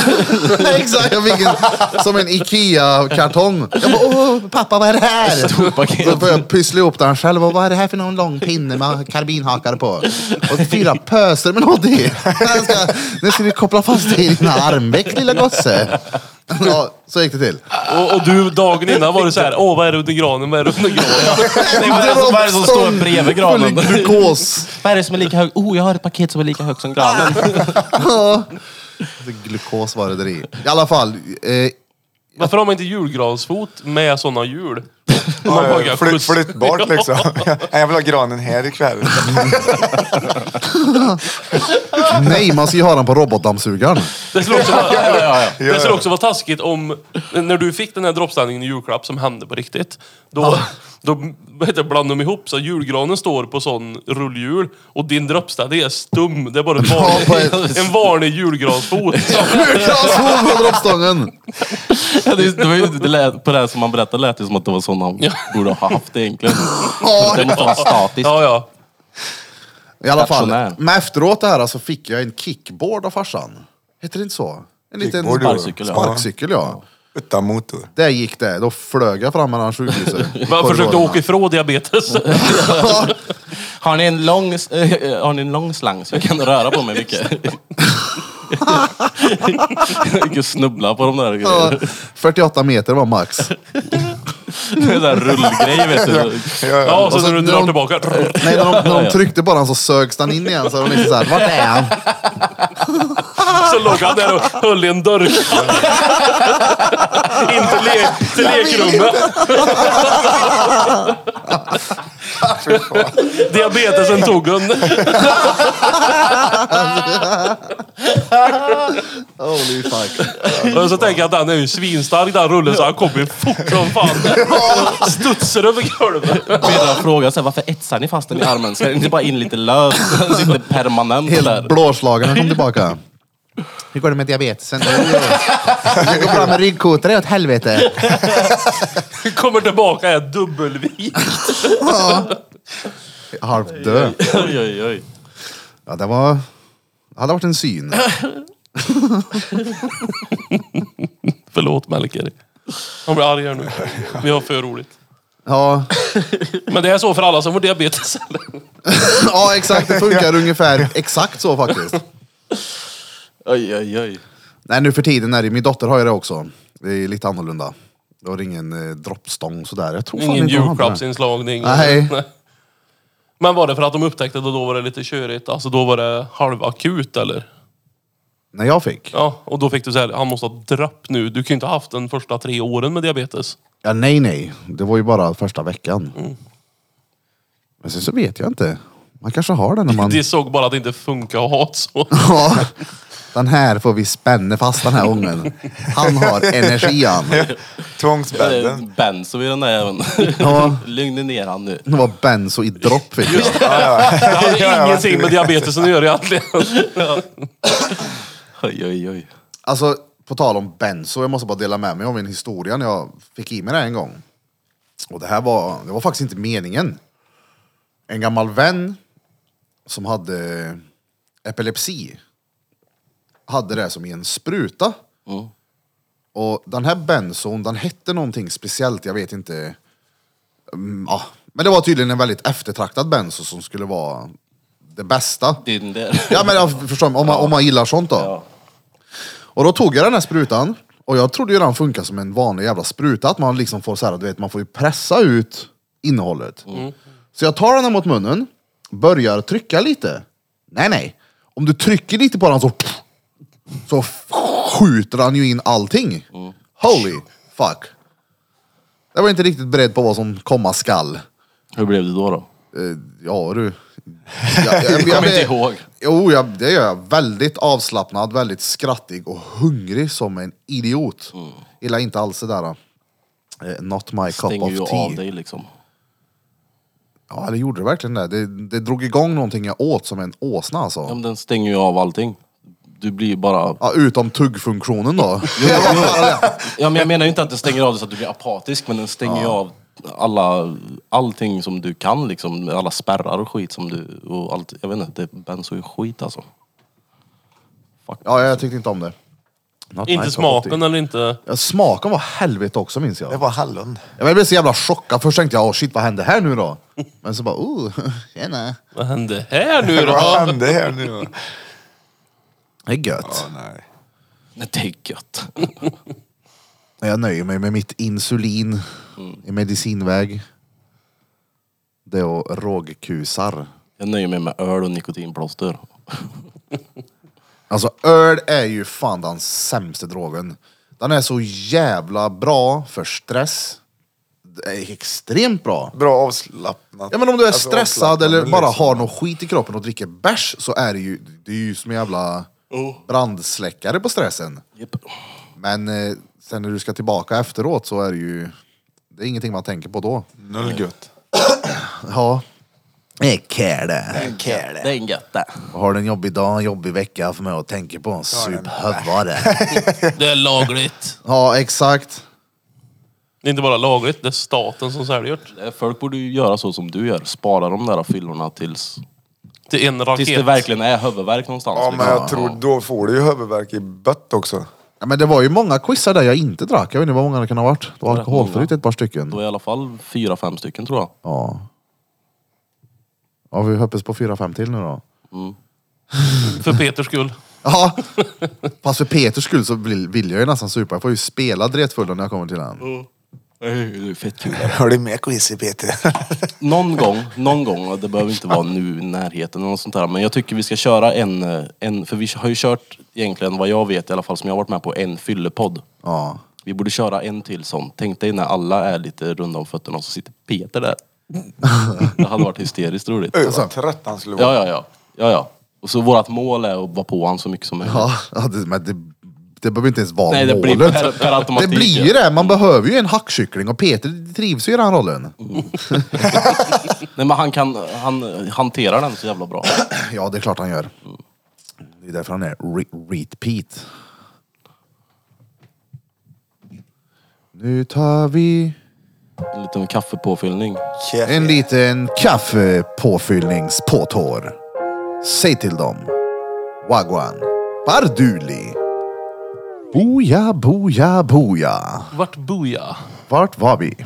Speaker 1: Exakt, jag fick en, som en IKEA-kartong. Jag bara, åh pappa vad är det här?
Speaker 2: Stort paket.
Speaker 1: Så började jag pyssla ihop den själv. Och, vad är det här för någon lång pinne med karbinhakare på? Och fyra pöser med något i. Den ska- Nu ska vi koppla fast dig i dina armbäck lilla gosse. Ja, så gick det till.
Speaker 5: Och, och du dagen innan var du så här, åh vad är det under granen, vad är det under granen?
Speaker 2: vad är det som- vad är det som står bredvid granen?
Speaker 1: Full glukos.
Speaker 2: Vad är det som är lika högt? Oh, jag har ett paket som är lika högt som granen.
Speaker 1: Ja. Glukos var det där Alltså, i. I alla fall. Eh,
Speaker 5: Varför har man inte julgransfot med sådana hjul? Man bara
Speaker 4: Ja,
Speaker 5: kan
Speaker 4: flytt,
Speaker 5: skjutsa-
Speaker 4: flyttbart liksom. Nej, jag vill ha granen här ikväll.
Speaker 1: nej, man ska ju ha den på robotdammsugaren.
Speaker 5: Det skulle också vara,
Speaker 4: ja.
Speaker 5: Det skulle också vara taskigt om, när du fick den här droppställningen i julklapp som hände på riktigt. Då, då vad heter, det, blandade de ihop så att julgranen står på sån rullhjul och din droppställning är stum. Det är bara en
Speaker 1: på
Speaker 5: vanlig,
Speaker 1: ett-
Speaker 5: en vanlig julgransfot.
Speaker 1: Glukos på robotstången.
Speaker 2: Ja, det, det var ju, det lät, på det här som man berättade lät det som att det var sån han borde ha haft egentligen. Det måste vara statiskt.
Speaker 5: Ja, ja.
Speaker 1: I alla fall.
Speaker 2: Stationär.
Speaker 1: Men efteråt det här så fick jag en kickboard av farsan. Heter det inte så? En liten
Speaker 4: Kickboard,
Speaker 1: spark-
Speaker 2: Sparkcykel, ja.
Speaker 1: sparkcykel ja.
Speaker 4: Utan motor.
Speaker 1: Där gick det. Då flög jag fram mellan sjukhusen.
Speaker 5: Man försökte åka ifrån diabetes.
Speaker 2: Har, ni en lång, s- eh, har ni en lång slang så jag kan röra på mig mycket? Jag kan snubbla på de där
Speaker 1: Ja,
Speaker 2: grejerna.
Speaker 1: 48 meter var max.
Speaker 2: Det är en sån där rullgrej vet du.
Speaker 5: Ja,
Speaker 1: Och
Speaker 5: och sen
Speaker 1: sen
Speaker 5: när du
Speaker 1: när
Speaker 5: drar
Speaker 1: de-
Speaker 5: tillbaka.
Speaker 1: Nej, när de, när de tryckte på den så sögs den in igen. Så de liksom såhär, vart är han?
Speaker 5: Så låg han där och höll i en dörr. Inte le, till lekrummet. Diabetesen tog hon.
Speaker 1: Holy fuck.
Speaker 5: Och så tänker jag att den är ju svinstark den rullen så han kommer ju fort som fan. Studsar över golvet.
Speaker 2: Birra frågar så här, varför etsar ni fast den i armen? Ska den inte bara in lite löst? Den sitter permanent där.
Speaker 1: Helt blåslagen när han kom tillbaka. Hur går det med diabetesen? Det går bra med ryggkotor, det är åt helvete.
Speaker 5: Kommer tillbaka är dubbelvit.
Speaker 1: Halvdö.
Speaker 2: Oj, oj, oj.
Speaker 1: Ja, det var... Det hade varit en syn.
Speaker 5: Förlåt Melker. Han blir arg här nu. Vi har för roligt.
Speaker 1: Ja,
Speaker 5: Men det är så för alla som får diabetes. eller?
Speaker 1: ja exakt. Det funkar ungefär exakt så faktiskt.
Speaker 2: Oj, oj, oj.
Speaker 1: Nej, nu för tiden är det Min dotter har ju det också. Det är lite annorlunda. Då är det ingen eh, droppstång sådär. Jag tror fan
Speaker 5: Ingen
Speaker 1: inte hon hade det.
Speaker 5: julklappsinslagning.
Speaker 1: Nej.
Speaker 5: Men var det för att de upptäckte det och då var det lite körigt? Alltså då var det halvakut eller?
Speaker 1: När jag fick?
Speaker 5: Ja, och då fick du så här, han måste ha drapp nu. Du kan ju inte ha haft den första tre åren med diabetes.
Speaker 1: Ja, nej, nej. Det var ju bara första veckan.
Speaker 5: Mm.
Speaker 1: Men sen så vet jag inte. Man kanske har den när man...
Speaker 5: Det såg bara att det inte funkar att ha ett så.
Speaker 1: Ja. Den här får vi spänna fast den här ungen. Han har energi han.
Speaker 4: Tvångsbällen.
Speaker 2: Eh, Benzo i den där jäveln.
Speaker 1: Ja.
Speaker 2: Lugna ner han nu.
Speaker 1: Det var benzo i dropp fick jag.
Speaker 5: Det hade ingenting med diabetesen att göra egentligen.
Speaker 2: Oj, oj, oj.
Speaker 1: Alltså, på tal om benzo, jag måste bara dela med mig av min historia när jag fick i mig det här en gång. Och det här var, det var faktiskt inte meningen. En gammal vän som hade epilepsi hade det som i en spruta. Och den här benzon, den hette någonting speciellt, jag vet inte. Mm, ja. Men det var tydligen en väldigt eftertraktad benzo som skulle vara det bästa.
Speaker 2: Din där.
Speaker 1: Ja men jag förstår, om man, om man gillar sånt då.
Speaker 2: Ja.
Speaker 1: Och då tog jag den här sprutan och jag trodde ju den funkar som en vanlig jävla spruta, att man liksom får så här, du vet, man får ju pressa ut innehållet. Så jag tar den här mot munnen, börjar trycka lite. Nej, nej. Om du trycker lite på den så, så skjuter han ju in allting. Holy fuck. Jag var inte riktigt beredd på vad som komma skall.
Speaker 2: Hur blev det då? då?
Speaker 1: Eh, Ja du. Jag, jag,
Speaker 2: Kommer inte ihåg.
Speaker 1: Jo, jag, det gör jag. Väldigt avslappnad, väldigt skrattig och hungrig som en idiot.
Speaker 2: Mm.
Speaker 1: Gillar inte alls det där. eh, Not my cup
Speaker 2: Stänger ju
Speaker 1: of tea.
Speaker 2: av dig liksom.
Speaker 1: ja, det gjorde det verkligen det. det. Det drog igång någonting jag åt som en åsna alltså.
Speaker 2: Ja, men den stänger ju av allting. Du blir ju bara...
Speaker 1: Ja, utom tuggfunktionen då.
Speaker 2: Ja, men jag menar ju inte att den stänger av dig så att du blir apatisk, men den stänger ju av alla, allting som du kan liksom. Alla spärrar och skit som du... Och allt, jag vet inte, det benzo är skit alltså.
Speaker 1: ja, jag tyckte inte om det. Not my cup
Speaker 5: inte
Speaker 1: of
Speaker 5: smaken
Speaker 1: tea.
Speaker 5: eller inte...
Speaker 1: Ja, smaken var helvete också minns jag.
Speaker 4: Det var hallon.
Speaker 1: Ja, men Jag blev så jävla chockad. Först tänkte jag, oh, shit vad hände här nu då? Men så bara, oh, tjena.
Speaker 5: Vad hände här nu
Speaker 4: Vad
Speaker 5: då?
Speaker 4: hände här nu? då?
Speaker 1: Det är gött.
Speaker 4: Ja, nej.
Speaker 2: Nej, det är gött.
Speaker 1: Nej, Jag nöjer mig med mitt insulin
Speaker 4: Mm.
Speaker 1: i medicinväg. Det och rågkusar.
Speaker 2: Jag nöjer mig med öl och nikotinplåster.
Speaker 1: Alltså öl är ju fan den sämsta drogen. Den är så jävla bra för stress. Det är extremt bra.
Speaker 4: Bra avslappnat.
Speaker 1: Ja men om du är
Speaker 4: Alltså,
Speaker 1: stressad
Speaker 4: avslappnad,
Speaker 1: eller bara
Speaker 4: liksom.
Speaker 1: har någon skit i kroppen och dricker bärs så är det ju, det är ju som en jävla
Speaker 4: Oh.
Speaker 1: brandsläckare på stressen.
Speaker 2: Japp.
Speaker 1: Men eh, sen när du ska tillbaka efteråt så är det ju, det är ingenting man tänker på då.
Speaker 4: Noll gött.
Speaker 1: Ja. Det är care det.
Speaker 2: Det är en gött det.
Speaker 1: Har du en jobbig dag, jobbig vecka för mig att tänka på, sup hövare.
Speaker 5: Det är lagligt.
Speaker 1: ja, exakt.
Speaker 5: Det är inte bara lagligt, det är staten som säljer det.
Speaker 2: Eh, Folk borde ju göra så som du gör. Spara de där fyllorna tills,
Speaker 5: Det är en raket.
Speaker 2: tills det verkligen är huvudvärk någonstans.
Speaker 4: Ja men
Speaker 2: liksom.
Speaker 4: jag tror då får du ju huvudvärk i bött också.
Speaker 1: Ja, men det var ju många quizar där jag inte drack. Jag vet inte hur många det kan ha varit. Det var
Speaker 2: rätt
Speaker 1: alkoholfritt
Speaker 2: många.
Speaker 1: ett par
Speaker 2: Det var
Speaker 1: stycken.
Speaker 2: i alla fall fyra, fem stycken tror jag.
Speaker 1: Ja. Ja, vi hoppas på fyra, fem till nu då.
Speaker 5: För Peters skull.
Speaker 1: Ja, fast för Peters skull så vill, vill jag ju nästan supa. Jag får ju spela dretfull när jag kommer till den.
Speaker 2: Det är fett kul.
Speaker 4: Har du med quiz i PT?
Speaker 2: Någon gång, någon gång, och det behöver inte vara nu i närheten eller något sånt där, men jag tycker vi ska köra en, eh, en, för vi har ju kört egentligen vad jag vet i alla fall som jag har varit med på, en fyllepodd.
Speaker 1: Ja.
Speaker 2: Vi borde köra en till sån. Tänk dig när alla är lite runda om fötterna och så sitter Peter där. Det hade varit hysteriskt roligt.
Speaker 4: Öh,
Speaker 1: Alltså.
Speaker 4: vad trött han skulle
Speaker 2: Ja,
Speaker 4: vara.
Speaker 2: ja, ja. ja, ja. Och så vårt mål är att vara på honom så mycket som möjligt.
Speaker 1: Ja, ja det, men det, det behöver inte ens vara
Speaker 2: Nej, det blir
Speaker 1: målet.
Speaker 2: per- per
Speaker 1: det
Speaker 2: automatik,
Speaker 1: blir ju det. Man behöver ju en hackkyckling och Peter trivs ju i den rollen.
Speaker 2: Nej, men han, kan, han hanterar den så jävla bra.
Speaker 1: Ja, det är klart han gör. Det är därför han är re- repeat. Nu tar vi
Speaker 2: En liten kaffepåfyllning.
Speaker 1: en liten kaffepåfyllningspåtår. Säg till dem. Wagwan. Barduli. Boja, boja, boja.
Speaker 5: Vart bor jag?
Speaker 1: Vart var vi?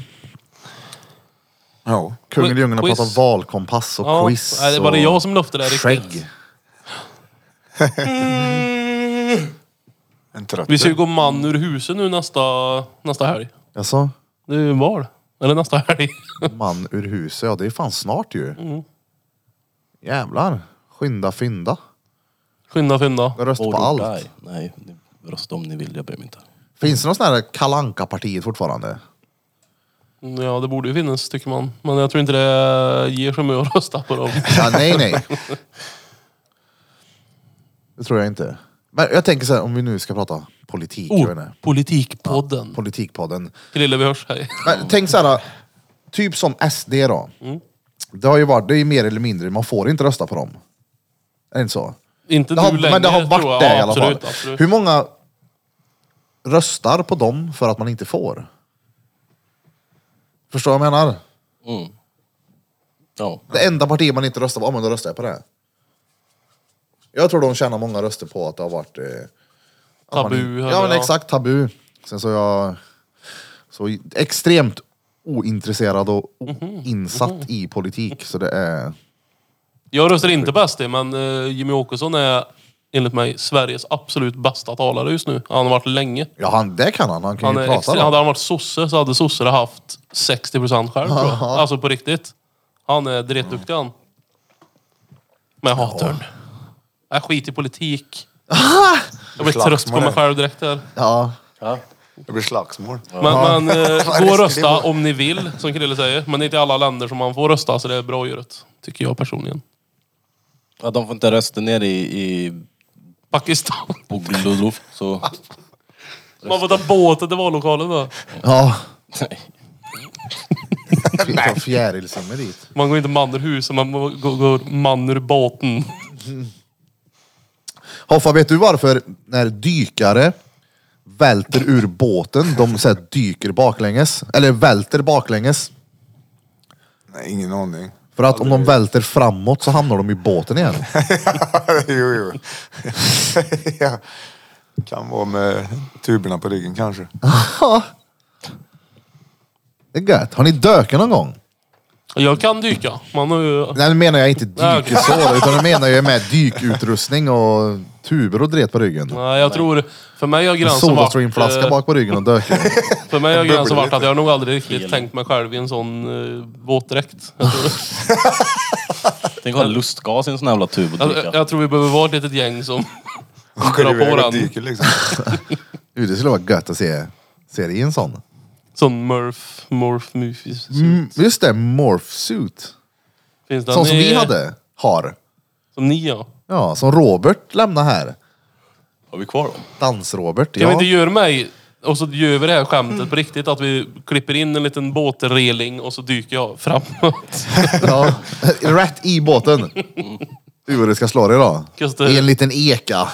Speaker 4: Ja.
Speaker 1: Kungen i djungeln har
Speaker 5: Quiz.
Speaker 1: pratat valkompass och
Speaker 5: Ja,
Speaker 1: quiz.
Speaker 5: nej, det var det
Speaker 1: och
Speaker 5: jag som löfte det här riktigt.
Speaker 1: Skägg.
Speaker 4: En trött.
Speaker 5: Vi ska ju gå man ur huset nu nästa, nästa helg.
Speaker 1: Alltså,
Speaker 5: Det är ju val. Eller nästa helg.
Speaker 1: man ur huset, ja det är fan snart ju.
Speaker 5: Mm.
Speaker 1: Jävlar. Skynda fynda.
Speaker 5: Skynda skynda.
Speaker 1: Rösta på
Speaker 2: Or
Speaker 1: allt.
Speaker 2: die. Nej, ni- rösta om ni vill. Jag bryr mig inte.
Speaker 1: Finns det någon sån här kalanka partiet fortfarande?
Speaker 5: Ja, det borde ju finnas tycker man. Men jag tror inte det ger så mycket att rösta på dem.
Speaker 1: Ja, nej, nej. Det tror jag inte. Men jag tänker så här, om vi nu ska prata politik. Jag vet
Speaker 5: Oh,
Speaker 1: inte.
Speaker 5: politikpodden.
Speaker 1: Politikpodden.
Speaker 5: Krille, vi hörs. Hej.
Speaker 1: Men tänk så här, typ som SD då.
Speaker 5: Mm.
Speaker 1: Det har ju varit, det är ju mer eller mindre, man får inte rösta på dem. Är det inte så?
Speaker 5: Inte
Speaker 1: Det har,
Speaker 5: nu längre
Speaker 1: men det har
Speaker 5: tror
Speaker 1: varit
Speaker 5: jag.
Speaker 1: det
Speaker 5: Ja,
Speaker 1: i alla
Speaker 5: absolut,
Speaker 1: fall.
Speaker 5: Absolut.
Speaker 1: Hur många röstar på dem för att man inte får? Förstår vad jag menar?
Speaker 2: Ja.
Speaker 1: Det enda parti man inte röstar på, ja men då röstar jag på det. Jag tror de tjänar många röster på att det har varit... Eh, att man-
Speaker 5: Tabu,
Speaker 1: Ja
Speaker 5: eller
Speaker 1: men
Speaker 5: ja.
Speaker 1: exakt, tabu. Sen så är jag så extremt ointresserad och
Speaker 5: Mhm.
Speaker 1: insatt i politik. Så det är...
Speaker 5: Jag röstar inte på SD, men eh, Jimmy Åkesson är enligt mig Sveriges absolut bästa talare just nu. Han har varit länge.
Speaker 1: Ja han, det kan han, han kan
Speaker 5: Han
Speaker 1: ju
Speaker 5: är
Speaker 1: prata
Speaker 5: extra,
Speaker 1: då.
Speaker 5: hade han varit sosse så hade sossarna haft 60% själv tror jag. Alltså på riktigt. Han är dretduktig han. Men jag hatar honom. Jag skiter i politik. Jag blir trött på
Speaker 4: Slagsmål
Speaker 5: mig
Speaker 4: är-
Speaker 5: själv direkt här.
Speaker 1: Ja.
Speaker 4: Det blir slagsmål.
Speaker 5: Men, men eh, gå och
Speaker 4: skulle
Speaker 5: rösta
Speaker 4: vara?
Speaker 5: om ni vill, som Krille säger. Men det är inte i alla länder som man får rösta, så det är bra gjort. Tycker jag personligen.
Speaker 2: ja, de får inte rösta ner i, i
Speaker 5: Pakistan.
Speaker 2: Bogdulov. Så
Speaker 5: Man får ta båten till vallokalen då.
Speaker 1: ja.
Speaker 2: nej.
Speaker 1: Vi tar fjärilsummer dit.
Speaker 5: Man går inte man ur huset, man går, går man ur båten.
Speaker 1: Hoffa, vet du varför när dykare välter ur båten, de så här, dyker baklänges? Eller välter baklänges?
Speaker 4: Nej, ingen aning.
Speaker 1: För att om de välter framåt så hamnar de i båten igen.
Speaker 4: jo, jo. ja. Kan vara med tuberna på ryggen kanske.
Speaker 1: Det är gött. Har ni dökat någon gång?
Speaker 5: Jag kan dyka. Man har ju...
Speaker 1: Nej, nu menar jag inte
Speaker 5: Nej, okej.
Speaker 1: dyker så, utan nu menar jag med dykutrustning och tuber och dret på ryggen.
Speaker 5: Nej, jag tror... För mig har
Speaker 1: En
Speaker 5: gränsen varit...
Speaker 1: Sodastreamflaska
Speaker 5: eh,
Speaker 1: bak på ryggen och döker.
Speaker 5: För mig har gränsen
Speaker 4: bubblar
Speaker 5: varit att
Speaker 4: lite.
Speaker 5: jag har nog aldrig riktigt tänkt mig själv i en sån uh, våtdräkt. Jag tror,
Speaker 2: Tänk att ha lustgas i en sån jävla tub och
Speaker 5: jag,
Speaker 2: dricka.
Speaker 5: jag tror vi behöver vara ett litet gäng som
Speaker 4: Skär
Speaker 5: drar
Speaker 4: iväg
Speaker 5: på
Speaker 4: och
Speaker 5: den.
Speaker 4: dyker liksom.
Speaker 1: Du, det skulle vara gött att se, se dig i en sån.
Speaker 5: Sån Murph, Morph, Mufi.
Speaker 1: Mm, just det, morph suit.
Speaker 5: Finns den
Speaker 1: Sån som
Speaker 5: i-
Speaker 1: vi hade, har.
Speaker 5: Som ni ja.
Speaker 1: Ja, som Robert lämnade här.
Speaker 2: Har vi kvar dem?
Speaker 1: Dans-Robert.
Speaker 5: Kan vi
Speaker 1: Ja. Mm.
Speaker 5: inte göra mig... Och så gör vi det här skämtet på riktigt, att vi klipper in en liten båtreling och så dyker jag framåt.
Speaker 1: ja. Rätt i båten. Du vad du ska slå dig då.
Speaker 5: Just det.
Speaker 1: I en liten eka.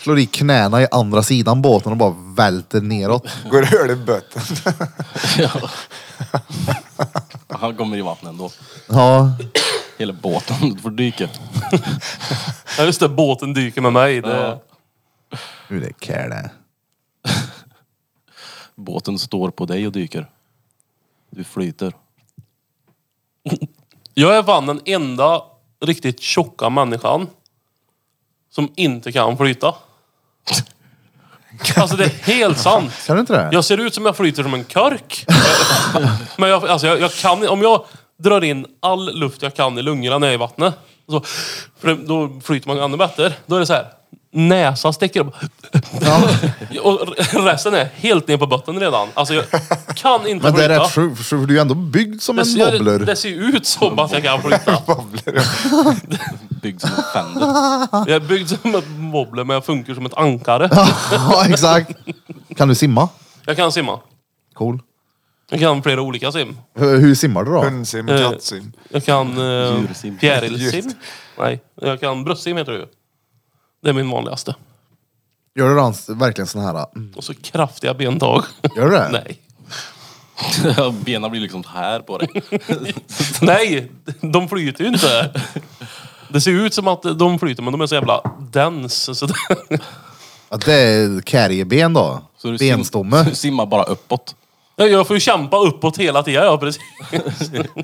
Speaker 1: Slår i knäna i andra sidan båten och bara välter neråt.
Speaker 4: Går och hör det i bötten.
Speaker 2: Han kommer i vattnet ändå.
Speaker 1: Ja,
Speaker 2: Hela båten får dyka.
Speaker 5: Ja just det, båten dyker med mig. Det,
Speaker 1: nu är det kär det.
Speaker 2: Båten står på dig och dyker. Du flyter.
Speaker 5: Jag är fan den enda riktigt tjocka människan som inte kan flyta. Alltså det är helt sant.
Speaker 1: Kan du inte det?
Speaker 5: Jag ser ut som jag flyter som en kork. Men jag, alltså jag, jag kan, om jag drar in all luft jag kan i lungorna när jag är i vattnet. Så, för det- då flyter man ännu bättre. Då är det så här. Näsan sticker upp. Och resten är helt ner på botten redan. Alltså jag kan inte
Speaker 1: Men det
Speaker 5: flyta.
Speaker 1: är rätt sjukt, för du är ju ändå byggd som
Speaker 5: Det
Speaker 1: en
Speaker 5: ser,
Speaker 1: wobbler.
Speaker 5: det ser ju ut som att jag kan flytta.
Speaker 2: Byggd som en fender.
Speaker 5: Jag är byggd som ett wobbler men jag funkar som ett ankare.
Speaker 1: ja, exakt. Kan du simma?
Speaker 5: Jag kan simma.
Speaker 1: Cool.
Speaker 5: Jag kan flera olika sim.
Speaker 1: Hur, hur simmar du då?
Speaker 4: Hundsim,
Speaker 5: Eh,
Speaker 4: kattsim.
Speaker 5: Jag kan eh,
Speaker 2: Djursim.
Speaker 5: fjärilsim. Nej, jag kan bröstsim heter det ju. Det är min vanligaste.
Speaker 1: Gör du dans, verkligen sån här... mm,
Speaker 5: Och så kraftiga bentag.
Speaker 1: Gör du det?
Speaker 5: Nej.
Speaker 2: Benen blir liksom här på dig.
Speaker 5: Nej, de flyter ju inte. Det ser ut som att de flyter men de är så jävla dens. Så det,
Speaker 1: Ja, det är karieben då.
Speaker 2: Så du sim-
Speaker 1: Benstomme.
Speaker 2: Du simmar bara uppåt.
Speaker 5: Ja, Jag får ju kämpa uppåt hela tiden. Ja, precis.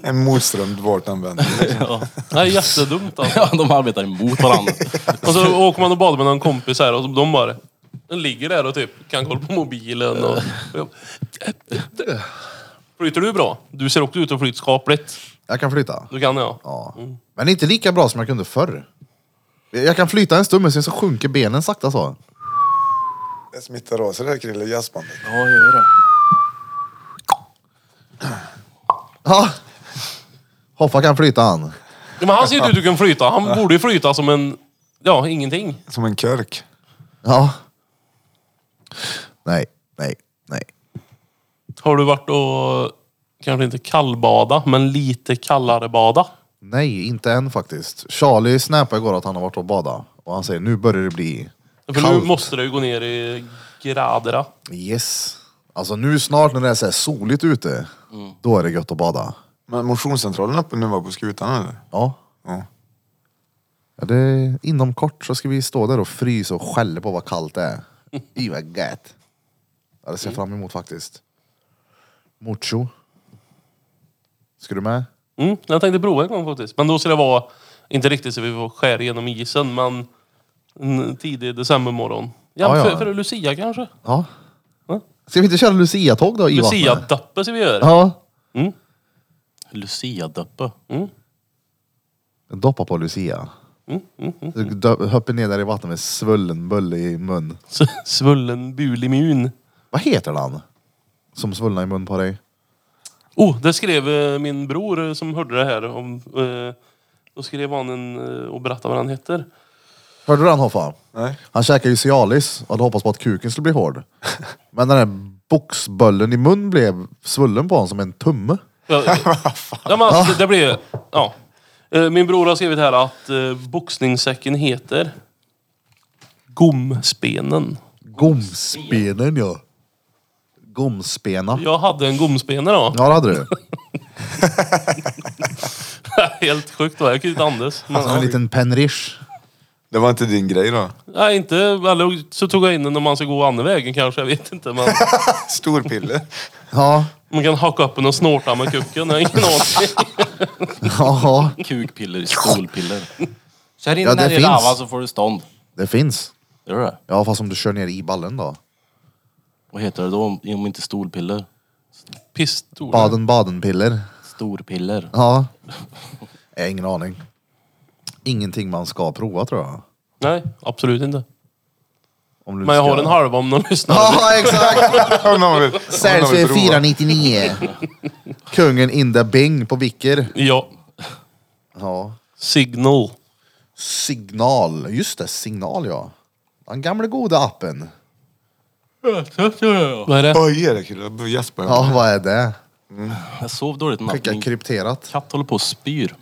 Speaker 4: En motströmd vårtanvändning.
Speaker 5: Det är jättedumt alltså.
Speaker 2: Ja, de arbetar emot varandra.
Speaker 5: Och så åker man och badar med någon kompis här och de bara... Den ligger där och typ kan kolla på mobilen och... Flyter du bra? Du ser också ut att flyta skapligt.
Speaker 1: Jag kan flytta.
Speaker 5: Du kan jag.
Speaker 1: Ja. Men inte lika bra som jag kunde förr. Jag kan flyta en stund men sen så sjunker benen sakta så.
Speaker 4: Det smittar av sig det här Krille, jazzbandet.
Speaker 2: Ja, jag gör det.
Speaker 1: Ja. Hoffa kan flyta han.
Speaker 5: Men han ser ju ut att kunna flyta. Han borde ju flyta som en... Ja, ingenting.
Speaker 4: Som en körk.
Speaker 1: Ja. Nej, nej, nej.
Speaker 5: Har du varit och... Kanske inte kallbada, men lite kallare bada.
Speaker 1: Nej, inte än faktiskt. Charlie snappade igår att han har varit och badat. Och han säger nu börjar det bli
Speaker 5: För
Speaker 1: kallt.
Speaker 5: nu måste det ju gå ner i graderna.
Speaker 1: Yes. Alltså nu snart när det är så här soligt ute,
Speaker 5: Mm.
Speaker 1: då är det gött att bada.
Speaker 4: Men motionscentralen uppe nu var på skutan eller?
Speaker 1: Ja.
Speaker 4: Ja.
Speaker 1: ja det, inom kort så ska vi stå där och frysa och skälla på vad kallt det är. I vad gött. Ja, det ser jag fram emot faktiskt. Mucho. Ska du med?
Speaker 5: Mm, jag tänkte prova en gång faktiskt. Men då ska det vara, inte riktigt så vi får skär genom isen, men en tidig decembermorgon.
Speaker 1: Ja,
Speaker 5: Ja,
Speaker 1: ja.
Speaker 5: För, för Lucia kanske?
Speaker 1: Ja.
Speaker 5: Ja.
Speaker 1: Ska vi inte köra Lucia-tåg då i vattnet?
Speaker 5: Lucia-dappe ska vi göra.
Speaker 1: Ja.
Speaker 2: Lucia-döppe.
Speaker 1: Doppa på Lucia. Mm, Hoppa ner där i vattnet med svullen bulle i mun.
Speaker 5: S- Svullen bulimmun.
Speaker 1: Vad heter han? Som svullnar i mun på dig?
Speaker 5: Oh, det skrev eh, min bror eh, som hörde det här. Om, eh, då skrev han en, eh, och berättade vad han heter.
Speaker 1: Hörde du den Hoffa?
Speaker 4: Nej.
Speaker 1: Han käkade ju Cialis och hade hoppats på att kuken skulle bli hård. Men den där boxböllen i mun blev svullen på honom som en tumme.
Speaker 5: Ja, eh, ja, men alltså, det, det blir... Ja. Eh, Min bror har skrivit här att eh, boxningssäcken heter Gomspenen.
Speaker 1: Gomspenen ja. Gomspena.
Speaker 5: Jag hade en gomspene då.
Speaker 1: Ja det hade du.
Speaker 5: Helt sjukt va? Jag kunde inte andas. Men,
Speaker 1: Som en liten penrish.
Speaker 4: Det var inte din grej då?
Speaker 5: nej, inte... Eller så tog jag in den om man ska gå andra vägen kanske. Jag vet inte. Men
Speaker 4: Storpiller.
Speaker 1: Ja.
Speaker 5: man kan hacka upp den och snorta med kucken. Jag har ingen aning.
Speaker 1: ja,
Speaker 2: Kukpiller, stolpiller. Kör in
Speaker 1: Ja,
Speaker 2: den här
Speaker 1: det
Speaker 2: i
Speaker 1: finns.
Speaker 2: lava så får du stånd.
Speaker 1: det finns.
Speaker 2: Gör du det?
Speaker 1: Ja fast om du kör ner i ballen då.
Speaker 2: Vad heter det då om, om inte stolpiller?
Speaker 5: Pistol.
Speaker 1: Baden-baden-piller.
Speaker 2: Storpiller.
Speaker 1: Ja. Jag har ingen aning. Ingenting man ska prova tror jag.
Speaker 5: Nej, absolut inte.
Speaker 1: Om du
Speaker 5: Men jag
Speaker 1: ska-
Speaker 5: har en halva om någon lyssnar.
Speaker 1: Ja exakt!
Speaker 4: Om någon vill- om
Speaker 1: Säljs
Speaker 4: någon vill
Speaker 1: för
Speaker 4: prova.
Speaker 1: 499. Kungen in the bing på Vicker.
Speaker 5: Ja.
Speaker 1: Ja.
Speaker 5: Signal.
Speaker 1: Signal. Just det, signal ja. Den gamla goda appen.
Speaker 5: Vad är det?
Speaker 4: Vad är det Krille? Jag gäspar.
Speaker 1: Ja, vad är det?
Speaker 2: Jag sov dåligt i natt.
Speaker 1: Skicka
Speaker 2: Min
Speaker 1: krypterat.
Speaker 2: katt håller på och spyr.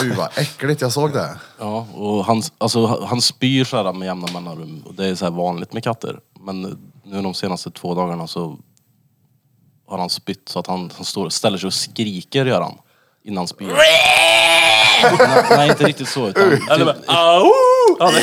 Speaker 1: Gud vad äckligt, jag såg det.
Speaker 2: Ja, och han, alltså, han spyr så här med jämna mellanrum. Och det är så här vanligt med katter. Men nu de senaste två dagarna så har han spytt så att han, han står, ställer sig och skriker gör han. Innan han spyr. nej, nej, inte riktigt så. Utan,
Speaker 5: Eller
Speaker 2: typ,
Speaker 5: bara... Au! Ja, det,